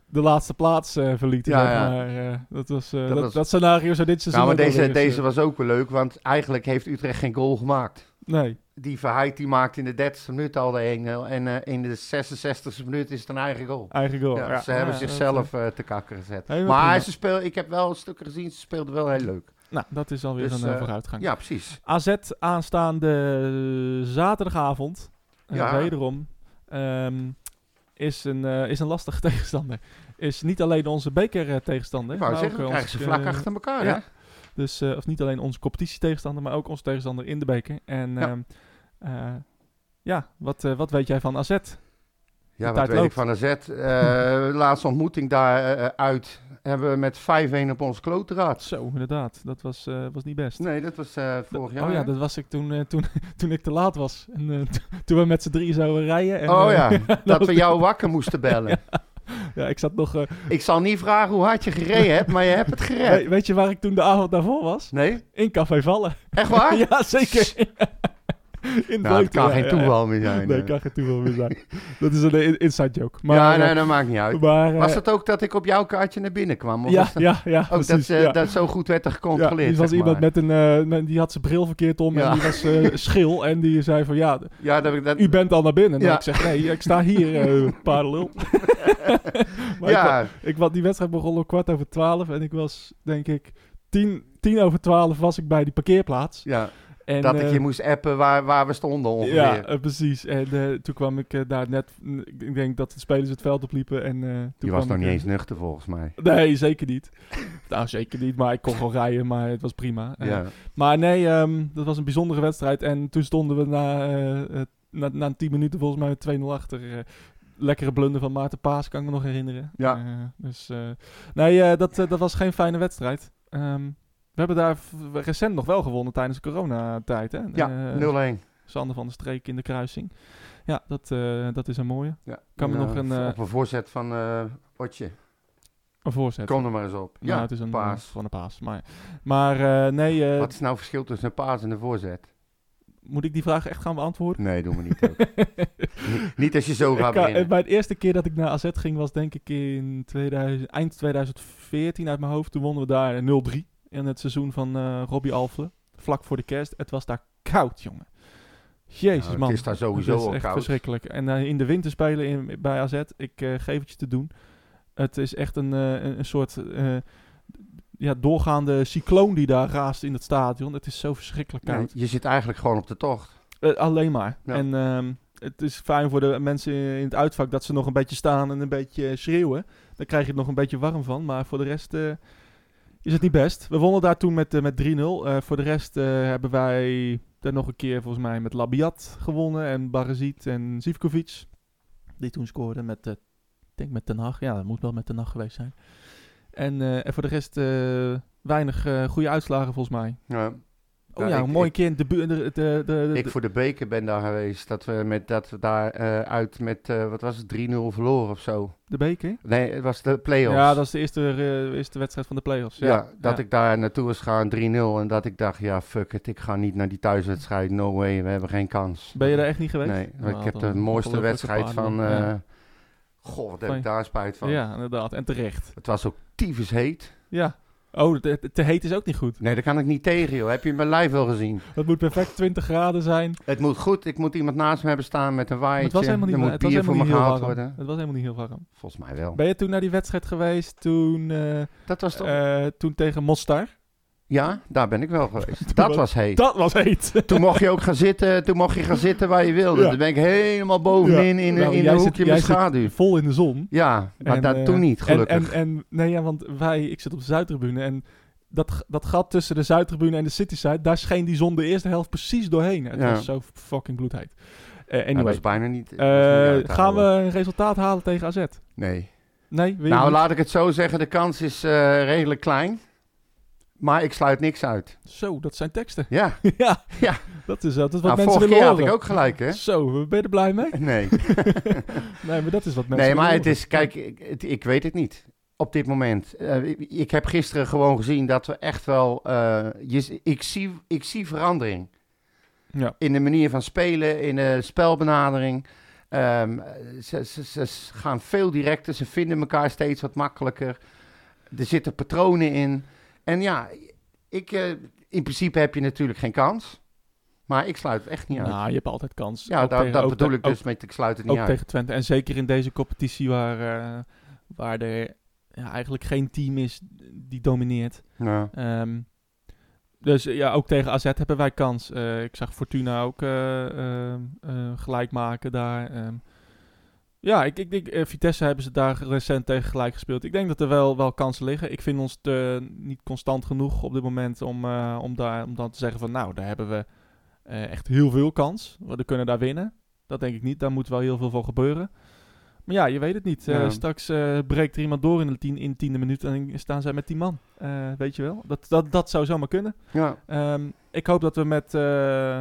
Speaker 1: de laatste plaats eh, verlieten.
Speaker 2: Ja,
Speaker 1: zeg
Speaker 2: ja.
Speaker 1: maar. Eh, dat, was, eh, dat,
Speaker 2: was-
Speaker 1: dat, scenario zou dit seizoen
Speaker 2: Nou, maar
Speaker 1: ook
Speaker 2: deze,
Speaker 1: alweer eens,
Speaker 2: deze was ook wel leuk, want eigenlijk heeft Utrecht geen goal gemaakt.
Speaker 1: eh, Nee.
Speaker 2: Die Verheid die maakt in de 30e minuut al de 1-0. En eh, in de 66e minuut is het een eigen goal.
Speaker 1: Eigen goal.
Speaker 2: Ja,
Speaker 1: Ja,
Speaker 2: ze hebben
Speaker 1: ja, dat,
Speaker 2: zichzelf eh, te kakken gezet.
Speaker 1: Helemaal
Speaker 2: maar
Speaker 1: prima.
Speaker 2: ze speel, ik heb wel stukken gezien, ze speelden wel heel leuk.
Speaker 1: eh, nou, dat is alweer
Speaker 2: Dus,
Speaker 1: een eh,
Speaker 2: eh,
Speaker 1: vooruitgang.
Speaker 2: Ja, precies.
Speaker 1: AZ aanstaande zaterdagavond, eh,
Speaker 2: Ja.
Speaker 1: wederom, ehm, is, een, eh, is een lastige tegenstander. Is niet alleen onze beker eh, tegenstander.
Speaker 2: Ik wou
Speaker 1: maar
Speaker 2: zeggen,
Speaker 1: ook,
Speaker 2: dan
Speaker 1: eh,
Speaker 2: krijgen ze
Speaker 1: onze,
Speaker 2: vlak
Speaker 1: eh,
Speaker 2: achter elkaar,
Speaker 1: ja.
Speaker 2: hè?
Speaker 1: Dus, eh, of niet alleen onze competitie tegenstander, maar ook onze tegenstander in de beker. En
Speaker 2: Ja.
Speaker 1: ehm, eh, ja, wat, eh, wat weet jij van AZ?
Speaker 2: Ja,
Speaker 1: De
Speaker 2: wat
Speaker 1: tijd
Speaker 2: weet ik
Speaker 1: loopt.
Speaker 2: van AZ. Eh laatste ontmoeting daar eh, uit hebben we met 5-1 op ons klotenraad.
Speaker 1: Zo, inderdaad. Dat was, eh, was niet best.
Speaker 2: Nee, dat was eh,
Speaker 1: Dat-
Speaker 2: vorig jaar.
Speaker 1: oh ja,
Speaker 2: hè?
Speaker 1: dat was ik toen, eh, toen, toen ik te laat was. En, eh, to- toen we met z'n drieën zouden rijden. En,
Speaker 2: oh
Speaker 1: eh,
Speaker 2: ja, dat we jou wakker moesten bellen.
Speaker 1: ja, ik zat nog... eh,
Speaker 2: Ik zal niet vragen hoe hard je gereden hebt, maar je hebt het gered.
Speaker 1: we- weet je waar ik toen de avond daarvoor was?
Speaker 2: Nee?
Speaker 1: In Café Vallen.
Speaker 2: Echt waar?
Speaker 1: ja, zeker. In
Speaker 2: Nou, Ah. dat
Speaker 1: Vleuten,
Speaker 2: kan
Speaker 1: ja,
Speaker 2: geen
Speaker 1: ja,
Speaker 2: toeval meer
Speaker 1: ja.
Speaker 2: zijn.
Speaker 1: Nee,
Speaker 2: hè.
Speaker 1: kan geen toeval meer zijn. Dat is een in- inside joke. Maar,
Speaker 2: ja,
Speaker 1: eh,
Speaker 2: nee, dat maakt niet uit.
Speaker 1: maar, eh,
Speaker 2: Was het ook dat ik op jouw kaartje naar binnen kwam? Of
Speaker 1: ja,
Speaker 2: was dat,
Speaker 1: ja, ja,
Speaker 2: ook dat,
Speaker 1: precies,
Speaker 2: ze,
Speaker 1: ja.
Speaker 2: dat zo goed werd er
Speaker 1: Ja,
Speaker 2: gecontroleerd?
Speaker 1: die was
Speaker 2: zeg
Speaker 1: iemand
Speaker 2: maar.
Speaker 1: met een, eh, met- die had zijn bril verkeerd om
Speaker 2: Ja.
Speaker 1: en die was eh, schil en die zei van ja,
Speaker 2: Ja, dat, ik- dat,
Speaker 1: u bent al naar binnen. En
Speaker 2: Ja.
Speaker 1: ik zeg nee, ik sta hier, eh paardenlul. maar ik wa-
Speaker 2: ja,
Speaker 1: ik, wa- die wedstrijd begon om kwart over twaalf en ik was denk ik tien, tien over twaalf was ik bij die parkeerplaats.
Speaker 2: ja,
Speaker 1: En,
Speaker 2: dat
Speaker 1: eh,
Speaker 2: ik je moest appen waar, waar we stonden ongeveer.
Speaker 1: Ja, eh, precies. En eh, toen kwam ik eh, daar net, mm, ik- ik denk dat de spelers het veld opliepen. En, eh, toen
Speaker 2: je was
Speaker 1: kwam
Speaker 2: nog
Speaker 1: ik,
Speaker 2: niet
Speaker 1: eh,
Speaker 2: eens nuchter volgens mij.
Speaker 1: Nee, zeker niet. nou, zeker niet. Maar ik kon gewoon rijden, maar het was prima. Eh,
Speaker 2: Ja.
Speaker 1: Maar nee, ehm, dat was een bijzondere wedstrijd. En toen stonden we na, eh, eh, na, na 10 minuten volgens mij met 2-0 achter. eh, lekkere blunder van Maarten Paas, kan ik me nog herinneren.
Speaker 2: Ja.
Speaker 1: Eh, dus eh, nee, eh, dat, eh, dat was geen fijne wedstrijd. Ehm, we hebben daar v- recent nog wel gewonnen tijdens de coronatijd. Hè?
Speaker 2: Ja,
Speaker 1: Eh,
Speaker 2: 0-1.
Speaker 1: Sander van der Streek in de kruising. Ja, dat, eh, dat is een mooie.
Speaker 2: Ja.
Speaker 1: Kan me
Speaker 2: Ja,
Speaker 1: nog een, eh,
Speaker 2: Op een voorzet van eh, Otje.
Speaker 1: Een voorzet.
Speaker 2: Kom er maar eens op.
Speaker 1: Nou,
Speaker 2: Ja,
Speaker 1: het is een
Speaker 2: paas.
Speaker 1: eh, Van een paas. Maar, maar eh, nee, eh,
Speaker 2: Wat is nou het verschil tussen een paas en een voorzet?
Speaker 1: moet ik die vraag echt gaan beantwoorden?
Speaker 2: Nee, doe maar niet. ook. Niet- niet als je zo gaat
Speaker 1: Ik kan-
Speaker 2: beginnen.
Speaker 1: bij de eerste keer dat ik naar AZ ging was denk ik in 2000, eind 2014 uit mijn hoofd. Toen wonnen we daar 0-3 in het seizoen van eh Robbie Alfle. Vlak voor de kerst. Het was daar koud, jongen. Jezus,
Speaker 2: Nou, het
Speaker 1: man.
Speaker 2: is daar sowieso
Speaker 1: Het is
Speaker 2: al
Speaker 1: echt
Speaker 2: koud.
Speaker 1: verschrikkelijk. En eh, in de winter spelen in, bij AZ, ik eh, geef het je te doen. Het is echt een, eh, een, een soort eh, ja, doorgaande cycloon die daar raast in het stadion. Het is zo verschrikkelijk koud.
Speaker 2: Nee, je zit eigenlijk gewoon op de tocht.
Speaker 1: Eh, alleen maar.
Speaker 2: Ja.
Speaker 1: En ehm, het is fijn voor de mensen in het uitvak dat ze nog een beetje staan en een beetje eh, schreeuwen. Dan krijg je het nog een beetje warm van. Maar voor de rest eh, is het niet best. We wonnen daar toen met, eh, met 3-0. Eh, voor de rest eh, hebben wij daar nog een keer volgens mij met Labiat gewonnen. En Barazit en Zivkovic. Die toen scoorden met, eh, ik denk met Ten Hag. Ja, dat moet wel met Ten Hag geweest zijn. En, eh, en voor de rest eh, weinig eh, goede uitslagen volgens mij.
Speaker 2: Ja.
Speaker 1: Oh
Speaker 2: Ja,
Speaker 1: ja,
Speaker 2: ik-
Speaker 1: een mooi
Speaker 2: ik-
Speaker 1: keer in de, bu- de, de, de, de-
Speaker 2: Ik voor de beker ben daar geweest. Dat we, met, dat we daar eh, uit met, eh, wat was het, 3-0 verloren of zo.
Speaker 1: de beker.
Speaker 2: Nee, het was de play-offs.
Speaker 1: Ja, dat is de eerste, eh, eerste wedstrijd van de play-offs. Ja,
Speaker 2: Ja, dat ik daar naartoe was gaan 3-0 en dat ik dacht, ja, fuck it, ik ga niet naar die thuiswedstrijd. No way, we hebben geen kans.
Speaker 1: Ben je daar echt niet geweest?
Speaker 2: Nee,
Speaker 1: Nou,
Speaker 2: ik heb
Speaker 1: dan
Speaker 2: de mooiste
Speaker 1: ongelooflijke
Speaker 2: wedstrijd van...
Speaker 1: paarden.
Speaker 2: eh
Speaker 1: Ja.
Speaker 2: Goh, wat heb
Speaker 1: Van-
Speaker 2: ik daar spijt van.
Speaker 1: Ja, inderdaad. En terecht.
Speaker 2: Het was ook tyfus heet.
Speaker 1: Ja. Oh, te, te- te heet is ook niet goed.
Speaker 2: Nee, daar kan ik niet tegen, joh. Heb je mijn lijf wel gezien?
Speaker 1: Het moet perfect 20 graden zijn. Maar
Speaker 2: Het moet goed, ik moet iemand naast me hebben staan met een waaiertje.
Speaker 1: het was helemaal niet,
Speaker 2: er moet
Speaker 1: het was
Speaker 2: bier
Speaker 1: helemaal
Speaker 2: voor me
Speaker 1: niet heel
Speaker 2: gehaald
Speaker 1: warm.
Speaker 2: worden.
Speaker 1: Het was helemaal niet heel warm.
Speaker 2: Volgens mij wel.
Speaker 1: Ben je toen naar die wedstrijd geweest? Toen, eh,
Speaker 2: Dat was toch...
Speaker 1: eh, toen tegen Mostar?
Speaker 2: ja, daar ben ik wel geweest.
Speaker 1: was-
Speaker 2: Dat was heet.
Speaker 1: Dat was heet.
Speaker 2: Toen mocht je ook gaan zitten, toen mocht je gaan zitten waar je wilde.
Speaker 1: Ja.
Speaker 2: Dan ben ik helemaal bovenin in,
Speaker 1: Nou,
Speaker 2: in, in
Speaker 1: jij
Speaker 2: een
Speaker 1: zit-
Speaker 2: hoekje
Speaker 1: jij
Speaker 2: met
Speaker 1: zit
Speaker 2: schaduw.
Speaker 1: Vol in de zon.
Speaker 2: Ja, maar
Speaker 1: En,
Speaker 2: dat
Speaker 1: eh,
Speaker 2: toen niet,
Speaker 1: En,
Speaker 2: gelukkig.
Speaker 1: en, en nee, ja, want wij, ik zit op de Zuidtribune en dat, g- dat gat tussen de Zuidtribune en de Cityside, daar scheen die zon de eerste helft precies doorheen. Het
Speaker 2: Ja.
Speaker 1: was zo fucking bloedheet. Eh,
Speaker 2: Ja, Nou, dat
Speaker 1: anyway,
Speaker 2: is bijna niet... dat is
Speaker 1: Eh,
Speaker 2: niet uit te
Speaker 1: gaan we
Speaker 2: houden.
Speaker 1: een resultaat halen tegen AZ?
Speaker 2: Nee.
Speaker 1: Nee, wil je
Speaker 2: Nou,
Speaker 1: niet?
Speaker 2: laat ik het zo zeggen. De kans is eh, redelijk klein. Maar ik sluit niks uit.
Speaker 1: Zo, dat zijn teksten.
Speaker 2: Ja,
Speaker 1: ja.
Speaker 2: Ja.
Speaker 1: dat is, eh, dat is wat
Speaker 2: nou,
Speaker 1: mensen willen
Speaker 2: vorige keer had
Speaker 1: horen.
Speaker 2: ik ook gelijk, hè?
Speaker 1: Zo, ben je er blij mee?
Speaker 2: Nee,
Speaker 1: Nee, maar dat is wat mensen
Speaker 2: nee
Speaker 1: willen
Speaker 2: maar het
Speaker 1: horen.
Speaker 2: is... Kijk, ik, het- ik weet het niet. Op dit moment. Eh, ik- ik heb gisteren gewoon gezien dat we echt wel... eh, je, ik, zie, ik zie verandering.
Speaker 1: Ja.
Speaker 2: in de manier van spelen, in de spelbenadering. Ehm, ze, ze, ze gaan veel directer, ze vinden elkaar steeds wat makkelijker. Er zitten patronen in. En ja, ik, eh, in principe heb je natuurlijk geen kans. Maar ik sluit het echt niet uit.
Speaker 1: Nou, je hebt altijd kans.
Speaker 2: ja,
Speaker 1: Ook
Speaker 2: daar,
Speaker 1: tegen-
Speaker 2: dat
Speaker 1: ook
Speaker 2: bedoel
Speaker 1: te-
Speaker 2: ik dus met ik sluit het
Speaker 1: Ook,
Speaker 2: niet
Speaker 1: ook
Speaker 2: uit.
Speaker 1: tegen Twente. En zeker in deze competitie waar, eh, waar er ja, eigenlijk geen team is die domineert.
Speaker 2: Ja.
Speaker 1: Ehm, dus eh, ja, ook tegen AZ hebben wij kans. Eh, ik zag Fortuna ook eh, ehm, eh, gelijk maken daar. Ehm, ja, ik, ik denk, eh, Vitesse hebben ze daar recent tegen gelijk gespeeld. Ik denk dat er wel, wel kansen liggen. Ik vind ons te, niet constant genoeg op dit moment om, eh, om, daar, om dan te zeggen van... Nou, daar hebben we eh, echt heel veel kans. We kunnen daar winnen. Dat denk ik niet. Daar moet wel heel veel van gebeuren. Maar ja, je weet het niet. Eh,
Speaker 2: Ja.
Speaker 1: Straks eh, breekt er iemand door in de, tien, in de tiende minuut en staan zij met tien man. Eh, weet je wel? Dat, dat, dat zou zomaar kunnen.
Speaker 2: Ja.
Speaker 1: Ehm, ik hoop dat we met... eh,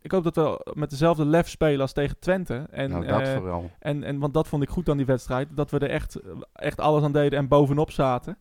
Speaker 1: ik hoop dat we met dezelfde lef spelen als tegen Twente. En,
Speaker 2: nou, dat
Speaker 1: eh,
Speaker 2: vooral.
Speaker 1: en, en, want dat vond ik goed aan die wedstrijd. Dat we er echt, echt alles aan deden en bovenop zaten.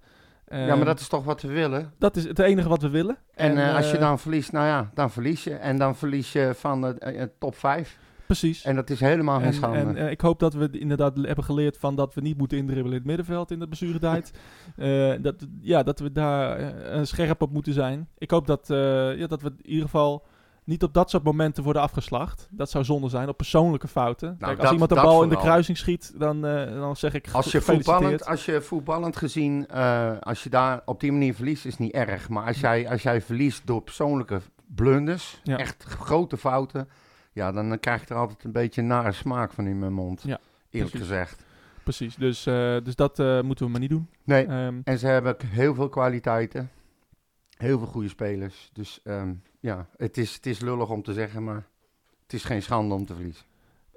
Speaker 1: Ehm,
Speaker 2: ja, maar dat is toch wat we willen.
Speaker 1: dat is het enige wat we willen.
Speaker 2: En, eh, als je
Speaker 1: eh,
Speaker 2: dan verliest, nou ja, dan verlies je. En dan verlies je van eh, eh, top 5.
Speaker 1: Precies.
Speaker 2: En dat is helemaal geen Ah, schande.
Speaker 1: en, eh, ik hoop dat we inderdaad le- hebben geleerd van dat we niet moeten indribbelen in het middenveld in de blessuretijd. Eh, dat, ja, dat we daar eh, eh, scherp op moeten zijn. Ik hoop dat, eh, ja, dat we in ieder geval niet op dat soort momenten worden afgeslacht. Dat zou zonde zijn, op persoonlijke fouten. Kijk, als
Speaker 2: Nou, dat-
Speaker 1: iemand de
Speaker 2: dat
Speaker 1: bal in de
Speaker 2: vooral.
Speaker 1: kruising schiet, dan, eh, dan zeg ik
Speaker 2: Als je,
Speaker 1: gefeliciteerd.
Speaker 2: voetballend, als je voetballend gezien, eh, als je daar op die manier verliest, is niet erg. Maar als jij, als jij verliest door persoonlijke blunders,
Speaker 1: Ja.
Speaker 2: echt grote fouten, ja, dan eh, krijg je er altijd een beetje een nare smaak van in mijn mond.
Speaker 1: Ja,
Speaker 2: eerlijk
Speaker 1: precies.
Speaker 2: gezegd.
Speaker 1: Precies, dus, eh, dus dat eh, moeten we maar niet doen.
Speaker 2: Nee,
Speaker 1: Ehm,
Speaker 2: en ze hebben ook heel veel kwaliteiten. Heel veel goede spelers. Dus ehm, ja, het is, het is lullig om te zeggen, maar het is geen schande om te verliezen.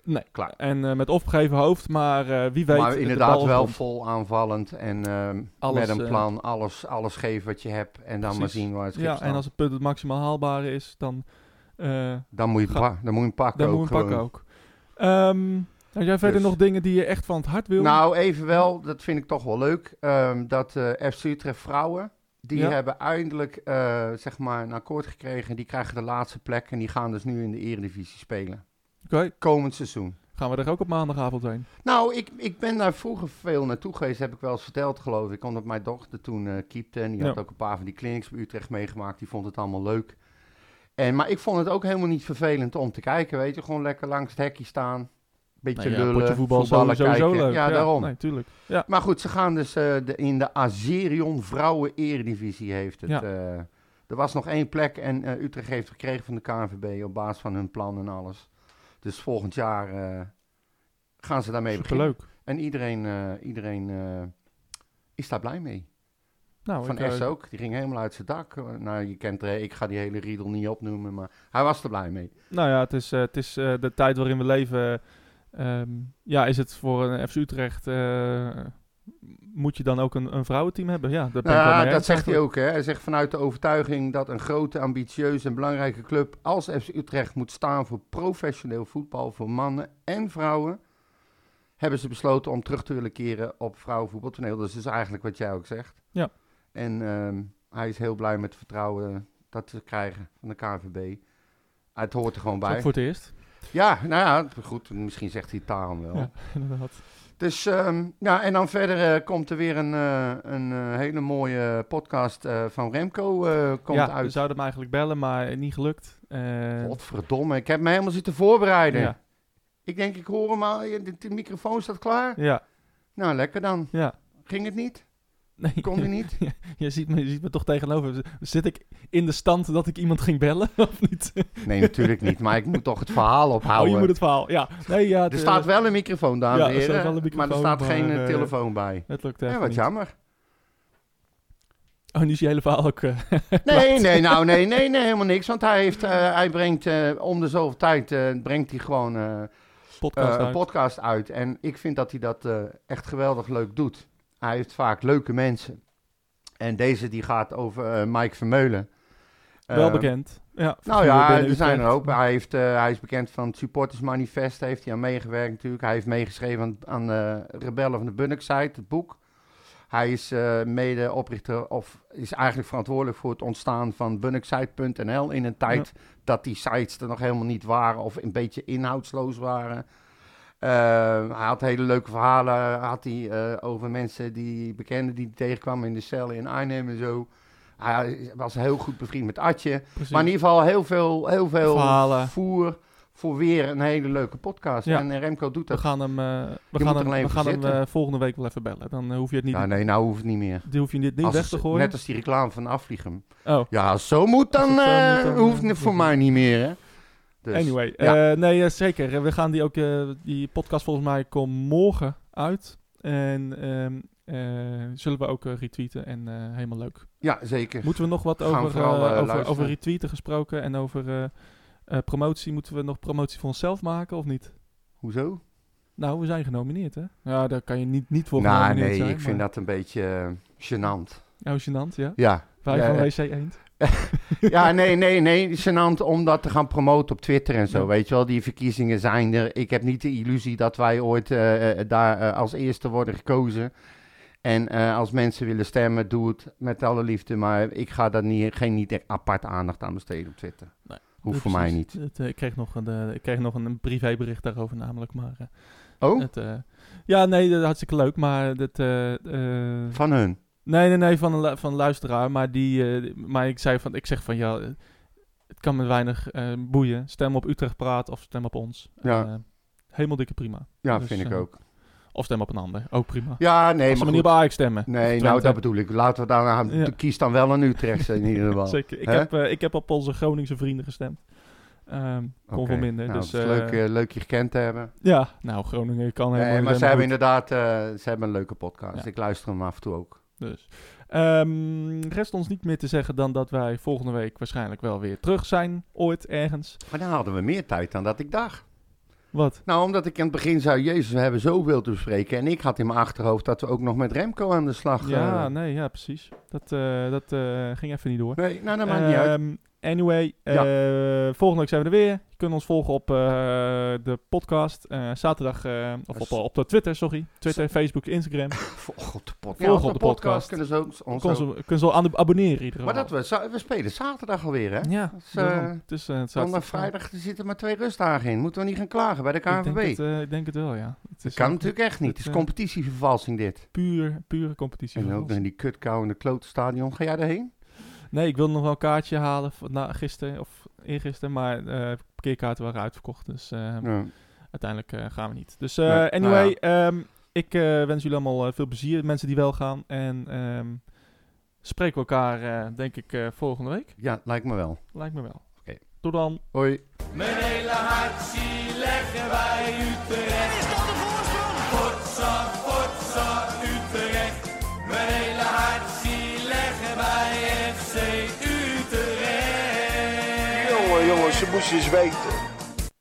Speaker 1: nee,
Speaker 2: Klaar.
Speaker 1: En eh, met opgegeven hoofd, maar eh, wie weet...
Speaker 2: maar
Speaker 1: de
Speaker 2: inderdaad
Speaker 1: bal
Speaker 2: wel
Speaker 1: rond.
Speaker 2: vol aanvallend en ehm,
Speaker 1: Alles,
Speaker 2: met een
Speaker 1: eh,
Speaker 2: plan. alles, alles geven wat je hebt en dan maar
Speaker 1: Precies.
Speaker 2: zien waar het schip
Speaker 1: Ja,
Speaker 2: staat.
Speaker 1: en als het punt het maximaal haalbare is, dan... eh,
Speaker 2: Dan moet je, het
Speaker 1: Ga-
Speaker 2: pa- dan moet je hem pakken
Speaker 1: Dan
Speaker 2: ook
Speaker 1: moet je hem pakken
Speaker 2: gewoon.
Speaker 1: ook. Ehm, heb jij verder
Speaker 2: Dus-
Speaker 1: nog dingen die je echt van het hart wil?
Speaker 2: Nou, even wel, dat vind ik toch wel leuk, ehm, dat eh, FC Utrecht vrouwen, die
Speaker 1: Ja.
Speaker 2: hebben eindelijk eh, zeg maar een akkoord gekregen. Die krijgen de laatste plek en die gaan dus nu in de Eredivisie spelen.
Speaker 1: Oké,
Speaker 2: Komend seizoen.
Speaker 1: gaan we er ook op maandagavond heen?
Speaker 2: Nou, ik, ik ben daar vroeger veel naartoe geweest, heb ik wel eens verteld geloof ik. Omdat mijn dochter toen eh keepte en die had
Speaker 1: Ja.
Speaker 2: ook een paar van die clinics bij Utrecht meegemaakt. Die vond het allemaal leuk. En, maar ik vond het ook helemaal niet vervelend om te kijken, weet je. Gewoon lekker langs het hekje staan, beetje
Speaker 1: Nou ja,
Speaker 2: lullen,
Speaker 1: potje voetbal is
Speaker 2: voetballen
Speaker 1: sowieso sowieso
Speaker 2: kijken.
Speaker 1: leuk.
Speaker 2: Ja, daarom.
Speaker 1: Nee, tuurlijk.
Speaker 2: Maar goed, ze gaan dus eh, de, in de Azerion Vrouwen Eredivisie heeft het.
Speaker 1: Ja.
Speaker 2: eh, er was nog één plek en eh, Utrecht heeft gekregen van de KNVB op basis van hun plan en alles. Dus volgend jaar eh, gaan ze daarmee beginnen.
Speaker 1: Superleuk.
Speaker 2: En iedereen, eh, iedereen eh, is daar blij mee.
Speaker 1: Nou,
Speaker 2: van
Speaker 1: ik, eh,
Speaker 2: S ook, die ging helemaal uit zijn dak. Eh, Nou, je kent, eh, ik ga die hele riedel niet opnoemen, maar hij was er blij mee.
Speaker 1: Nou ja, het is, eh, het is eh, de tijd waarin we leven. ehm, ja, is het voor een FC Utrecht... eh, moet je dan ook een, een vrouwenteam hebben? Ja, dat ben ik wel
Speaker 2: Nou,
Speaker 1: mee
Speaker 2: dat
Speaker 1: eens
Speaker 2: zegt hij
Speaker 1: eigenlijk.
Speaker 2: ook. Hè. Hij zegt vanuit de overtuiging dat een grote, ambitieuze en belangrijke club als FC Utrecht moet staan voor professioneel voetbal voor mannen en vrouwen. Hebben ze besloten om terug te willen keren op vrouwenvoetbaltoneel. Dat is dus eigenlijk wat jij ook zegt.
Speaker 1: Ja.
Speaker 2: En ehm, hij is heel blij met het vertrouwen dat ze krijgen van de KNVB. Het hoort er gewoon
Speaker 1: Dat is ook
Speaker 2: bij.
Speaker 1: voor het eerst.
Speaker 2: Ja, nou ja, goed. Misschien zegt hij het daarom wel.
Speaker 1: Ja, inderdaad.
Speaker 2: Dus ehm, ja, en dan verder eh, komt er weer een, eh, een eh, hele mooie podcast eh, van Remco eh, komt
Speaker 1: ja, we
Speaker 2: uit.
Speaker 1: zouden hem eigenlijk bellen, maar niet gelukt. Eh,
Speaker 2: Godverdomme, ik heb me helemaal zitten voorbereiden.
Speaker 1: ja,
Speaker 2: Ik denk, ik hoor hem al, je- de, de microfoon staat klaar.
Speaker 1: ja,
Speaker 2: Nou, lekker dan.
Speaker 1: ja.
Speaker 2: Ging het niet?
Speaker 1: Nee,
Speaker 2: Kon hij niet?
Speaker 1: je, ziet me, je ziet me toch tegenover. Zit ik in de stand dat ik iemand ging bellen, of niet?
Speaker 2: Nee, natuurlijk niet, maar ik moet toch het verhaal
Speaker 1: Oh,
Speaker 2: ophouden.
Speaker 1: je moet het verhaal. Ja, nee, ja. het,
Speaker 2: Er
Speaker 1: eh,
Speaker 2: staat wel een microfoon, dames
Speaker 1: Ja,
Speaker 2: en
Speaker 1: er staat
Speaker 2: heren,
Speaker 1: wel een
Speaker 2: maar er
Speaker 1: microfoon,
Speaker 2: staat geen
Speaker 1: maar,
Speaker 2: eh,
Speaker 1: eh,
Speaker 2: telefoon bij.
Speaker 1: Het lukt
Speaker 2: Ja,
Speaker 1: even
Speaker 2: wat
Speaker 1: niet.
Speaker 2: jammer.
Speaker 1: Oh, nu is je hele verhaal ook... eh,
Speaker 2: Nee, nee, nou, nee, nee, nee, helemaal niks. Want hij, heeft, eh, hij brengt eh, om de zoveel tijd eh, brengt hij gewoon eh,
Speaker 1: podcast
Speaker 2: eh, een
Speaker 1: uit.
Speaker 2: podcast uit. En ik vind dat hij dat eh, echt geweldig leuk doet. Hij heeft vaak leuke mensen. En deze die gaat over eh, Mike Vermeulen.
Speaker 1: Wel
Speaker 2: Eh,
Speaker 1: bekend. Ja,
Speaker 2: Nou
Speaker 1: figuur
Speaker 2: ja,
Speaker 1: binnen
Speaker 2: er zijn er
Speaker 1: Utrecht.
Speaker 2: ook. Hij, heeft, eh, hij is bekend van het Supporters Manifest. Daar heeft hij aan meegewerkt natuurlijk. Hij heeft meegeschreven aan, aan eh, Rebellen van de Bunnik-site, het boek. Hij is eh, medeoprichter of is eigenlijk verantwoordelijk voor het ontstaan van bunniksite.nl in een tijd dat die sites er nog helemaal niet waren of een beetje inhoudsloos waren. Eh, hij had hele leuke verhalen had hij, eh, over mensen die bekenden die hij tegenkwam in de cellen in Arnhem en zo. Hij was heel goed bevriend met Atje.
Speaker 1: Precies.
Speaker 2: Maar in ieder geval heel veel, heel veel
Speaker 1: Verhalen.
Speaker 2: voer voor weer een hele leuke podcast.
Speaker 1: Ja.
Speaker 2: En eh, Remco doet
Speaker 1: We
Speaker 2: dat.
Speaker 1: gaan hem, eh, we
Speaker 2: moet
Speaker 1: gaan
Speaker 2: er
Speaker 1: hem,
Speaker 2: alleen
Speaker 1: we
Speaker 2: voor
Speaker 1: gaan hem
Speaker 2: zitten.
Speaker 1: eh, volgende week wel even bellen. Dan eh, hoef je het niet,
Speaker 2: Nou, nee, nou hoeft het niet meer.
Speaker 1: die hoef je dit niet
Speaker 2: Als
Speaker 1: weg
Speaker 2: het-
Speaker 1: te gooien.
Speaker 2: Net als die reclame van Afvliegen.
Speaker 1: Oh,
Speaker 2: Ja, als zo moet dan,
Speaker 1: het zo
Speaker 2: eh,
Speaker 1: moet, dan,
Speaker 2: hoeft
Speaker 1: eh,
Speaker 2: het voor
Speaker 1: ja.
Speaker 2: mij niet meer. Hè? Dus,
Speaker 1: anyway.
Speaker 2: ja.
Speaker 1: Eh, nee, eh, zeker. Eh, We gaan die ook... eh, die podcast volgens mij komt morgen uit. En ehm, eh, zullen we ook eh, retweeten. En eh, helemaal leuk.
Speaker 2: Ja, zeker.
Speaker 1: Moeten we nog wat
Speaker 2: Gaan we
Speaker 1: over,
Speaker 2: vooral,
Speaker 1: eh,
Speaker 2: eh,
Speaker 1: over,
Speaker 2: luisteren.
Speaker 1: over retweeten gesproken en over eh, eh, promotie? Moeten we nog promotie voor onszelf maken of niet?
Speaker 2: Hoezo?
Speaker 1: Nou, we zijn genomineerd, hè? Ja, daar kan je niet, niet voor
Speaker 2: Nou,
Speaker 1: genomineerd
Speaker 2: nee,
Speaker 1: zijn.
Speaker 2: ik vind
Speaker 1: maar-
Speaker 2: dat een beetje eh, gênant.
Speaker 1: Oh, gênant, ja.
Speaker 2: Ja.
Speaker 1: Wij
Speaker 2: Ja,
Speaker 1: van
Speaker 2: ja.
Speaker 1: WC Eend.
Speaker 2: ja, nee, nee, nee. Gênant om dat te gaan promoten op Twitter en zo.
Speaker 1: Ja.
Speaker 2: Weet je wel, die verkiezingen zijn er. Ik heb niet de illusie dat wij ooit eh, eh, daar eh, als eerste worden gekozen. En eh, als mensen willen stemmen, doe het met alle liefde. Maar ik ga daar niet, geen niet echt apart aandacht aan besteden op Twitter.
Speaker 1: Nee.
Speaker 2: Hoeft voor
Speaker 1: Ja,
Speaker 2: mij
Speaker 1: precies.
Speaker 2: niet.
Speaker 1: Het, eh, ik kreeg nog een, eh, ik kreeg nog een, een privébericht daarover namelijk, maar... eh,
Speaker 2: Oh,
Speaker 1: het, eh, ja, nee, dat is hartstikke leuk, maar... Dat, eh, eh,
Speaker 2: van hun.
Speaker 1: Nee, nee, nee, van een, lu- van een luisteraar. Maar, die, eh, maar ik, zei van, ik zeg van ja, eh, het kan me weinig eh, boeien. Stem op Utrecht Praat of stem op ons.
Speaker 2: Ja.
Speaker 1: En, eh, helemaal dikke prima.
Speaker 2: Ja,
Speaker 1: Dus,
Speaker 2: vind ik
Speaker 1: eh,
Speaker 2: ook.
Speaker 1: Of stem op een ander, ook prima.
Speaker 2: Ja, nee,
Speaker 1: Als ze
Speaker 2: maar
Speaker 1: maar niet
Speaker 2: goed.
Speaker 1: op Ajax stemmen.
Speaker 2: Nee,
Speaker 1: Of
Speaker 2: nou,
Speaker 1: Twente.
Speaker 2: dat bedoel ik. Laten we daarna...
Speaker 1: Ja.
Speaker 2: Kies dan wel een Utrechtse in ieder geval.
Speaker 1: Zeker. Ik
Speaker 2: Hè?
Speaker 1: heb, eh, ik heb op onze Groningse vrienden gestemd. Ehm kon
Speaker 2: Oké.
Speaker 1: voor minder.
Speaker 2: Nou,
Speaker 1: dus,
Speaker 2: het is
Speaker 1: eh,
Speaker 2: leuk, eh, leuk je gekend te hebben.
Speaker 1: Ja, nou, Groningen kan helemaal niet
Speaker 2: Nee, Eh, maar ze
Speaker 1: helemaal
Speaker 2: hebben
Speaker 1: goed.
Speaker 2: inderdaad eh, ze hebben een leuke podcast.
Speaker 1: Ja.
Speaker 2: Ik luister hem af en toe ook.
Speaker 1: Dus. ehm, rest ons niet meer te zeggen dan dat wij volgende week waarschijnlijk wel weer terug zijn. Ooit ergens.
Speaker 2: Maar dan hadden we meer tijd dan dat ik dacht.
Speaker 1: Wat?
Speaker 2: Nou, omdat ik aan het begin zei, Jezus, we hebben zoveel te bespreken. En ik had in mijn achterhoofd dat we ook nog met Remco aan de slag...
Speaker 1: Ja, nou,
Speaker 2: eh,
Speaker 1: nee, ja, precies. Dat, eh, dat eh, ging even niet door.
Speaker 2: nee, nou, dat maakt niet uit.
Speaker 1: Ehm, Anyway, eh, volgende week zijn we er weer. Je kunt ons volgen op eh, de podcast. eh, zaterdag, eh, of op, op de Twitter, sorry. Twitter, Facebook, Instagram.
Speaker 2: Volg de podcast.
Speaker 1: Volg op
Speaker 2: de
Speaker 1: de
Speaker 2: podcast
Speaker 1: podcast.
Speaker 2: kunnen ze ons, ons
Speaker 1: Kun
Speaker 2: ook-
Speaker 1: je kun ze al aan- abonneren in ieder geval.
Speaker 2: Maar dat we, za- we spelen zaterdag alweer, hè?
Speaker 1: Ja,
Speaker 2: is,
Speaker 1: daarom.
Speaker 2: eh,
Speaker 1: het is, eh, het
Speaker 2: Want
Speaker 1: zaterdag-
Speaker 2: maar vrijdag er zitten maar twee rustdagen in. Moeten we niet gaan klagen bij de
Speaker 1: Ik denk,
Speaker 2: KNVB?
Speaker 1: het, eh, ik denk het wel, ja. Het is
Speaker 2: kan
Speaker 1: echt
Speaker 2: natuurlijk echt niet. Het is
Speaker 1: eh,
Speaker 2: competitievervalsing dit.
Speaker 1: puur, pure competitie.
Speaker 2: En ook in die kutkou in de klote stadion. Ga jij daarheen?
Speaker 1: Nee, ik wilde nog wel een kaartje halen van- na, gisteren of eergisteren, maar eh parkeerkaarten waren uitverkocht, dus eh,
Speaker 2: Ja.
Speaker 1: uiteindelijk eh, gaan we niet. Dus eh,
Speaker 2: Nee,
Speaker 1: anyway,
Speaker 2: nou
Speaker 1: ehm, ik eh, wens jullie allemaal eh, veel plezier, mensen die wel gaan. En ehm, spreken we elkaar, eh, denk ik, eh, volgende week.
Speaker 2: ja, lijkt me wel.
Speaker 1: Lijkt me wel.
Speaker 2: Oké.
Speaker 1: Tot dan.
Speaker 2: Hoi.
Speaker 3: Mijn hele hart zie leggen wij Utrecht. Is dat de voorsprong? Potsa, potsa, Utrecht. Mijn hele hart zie leggen wij FC Utrecht.
Speaker 4: Jongen, jongen, ze moest eens weten.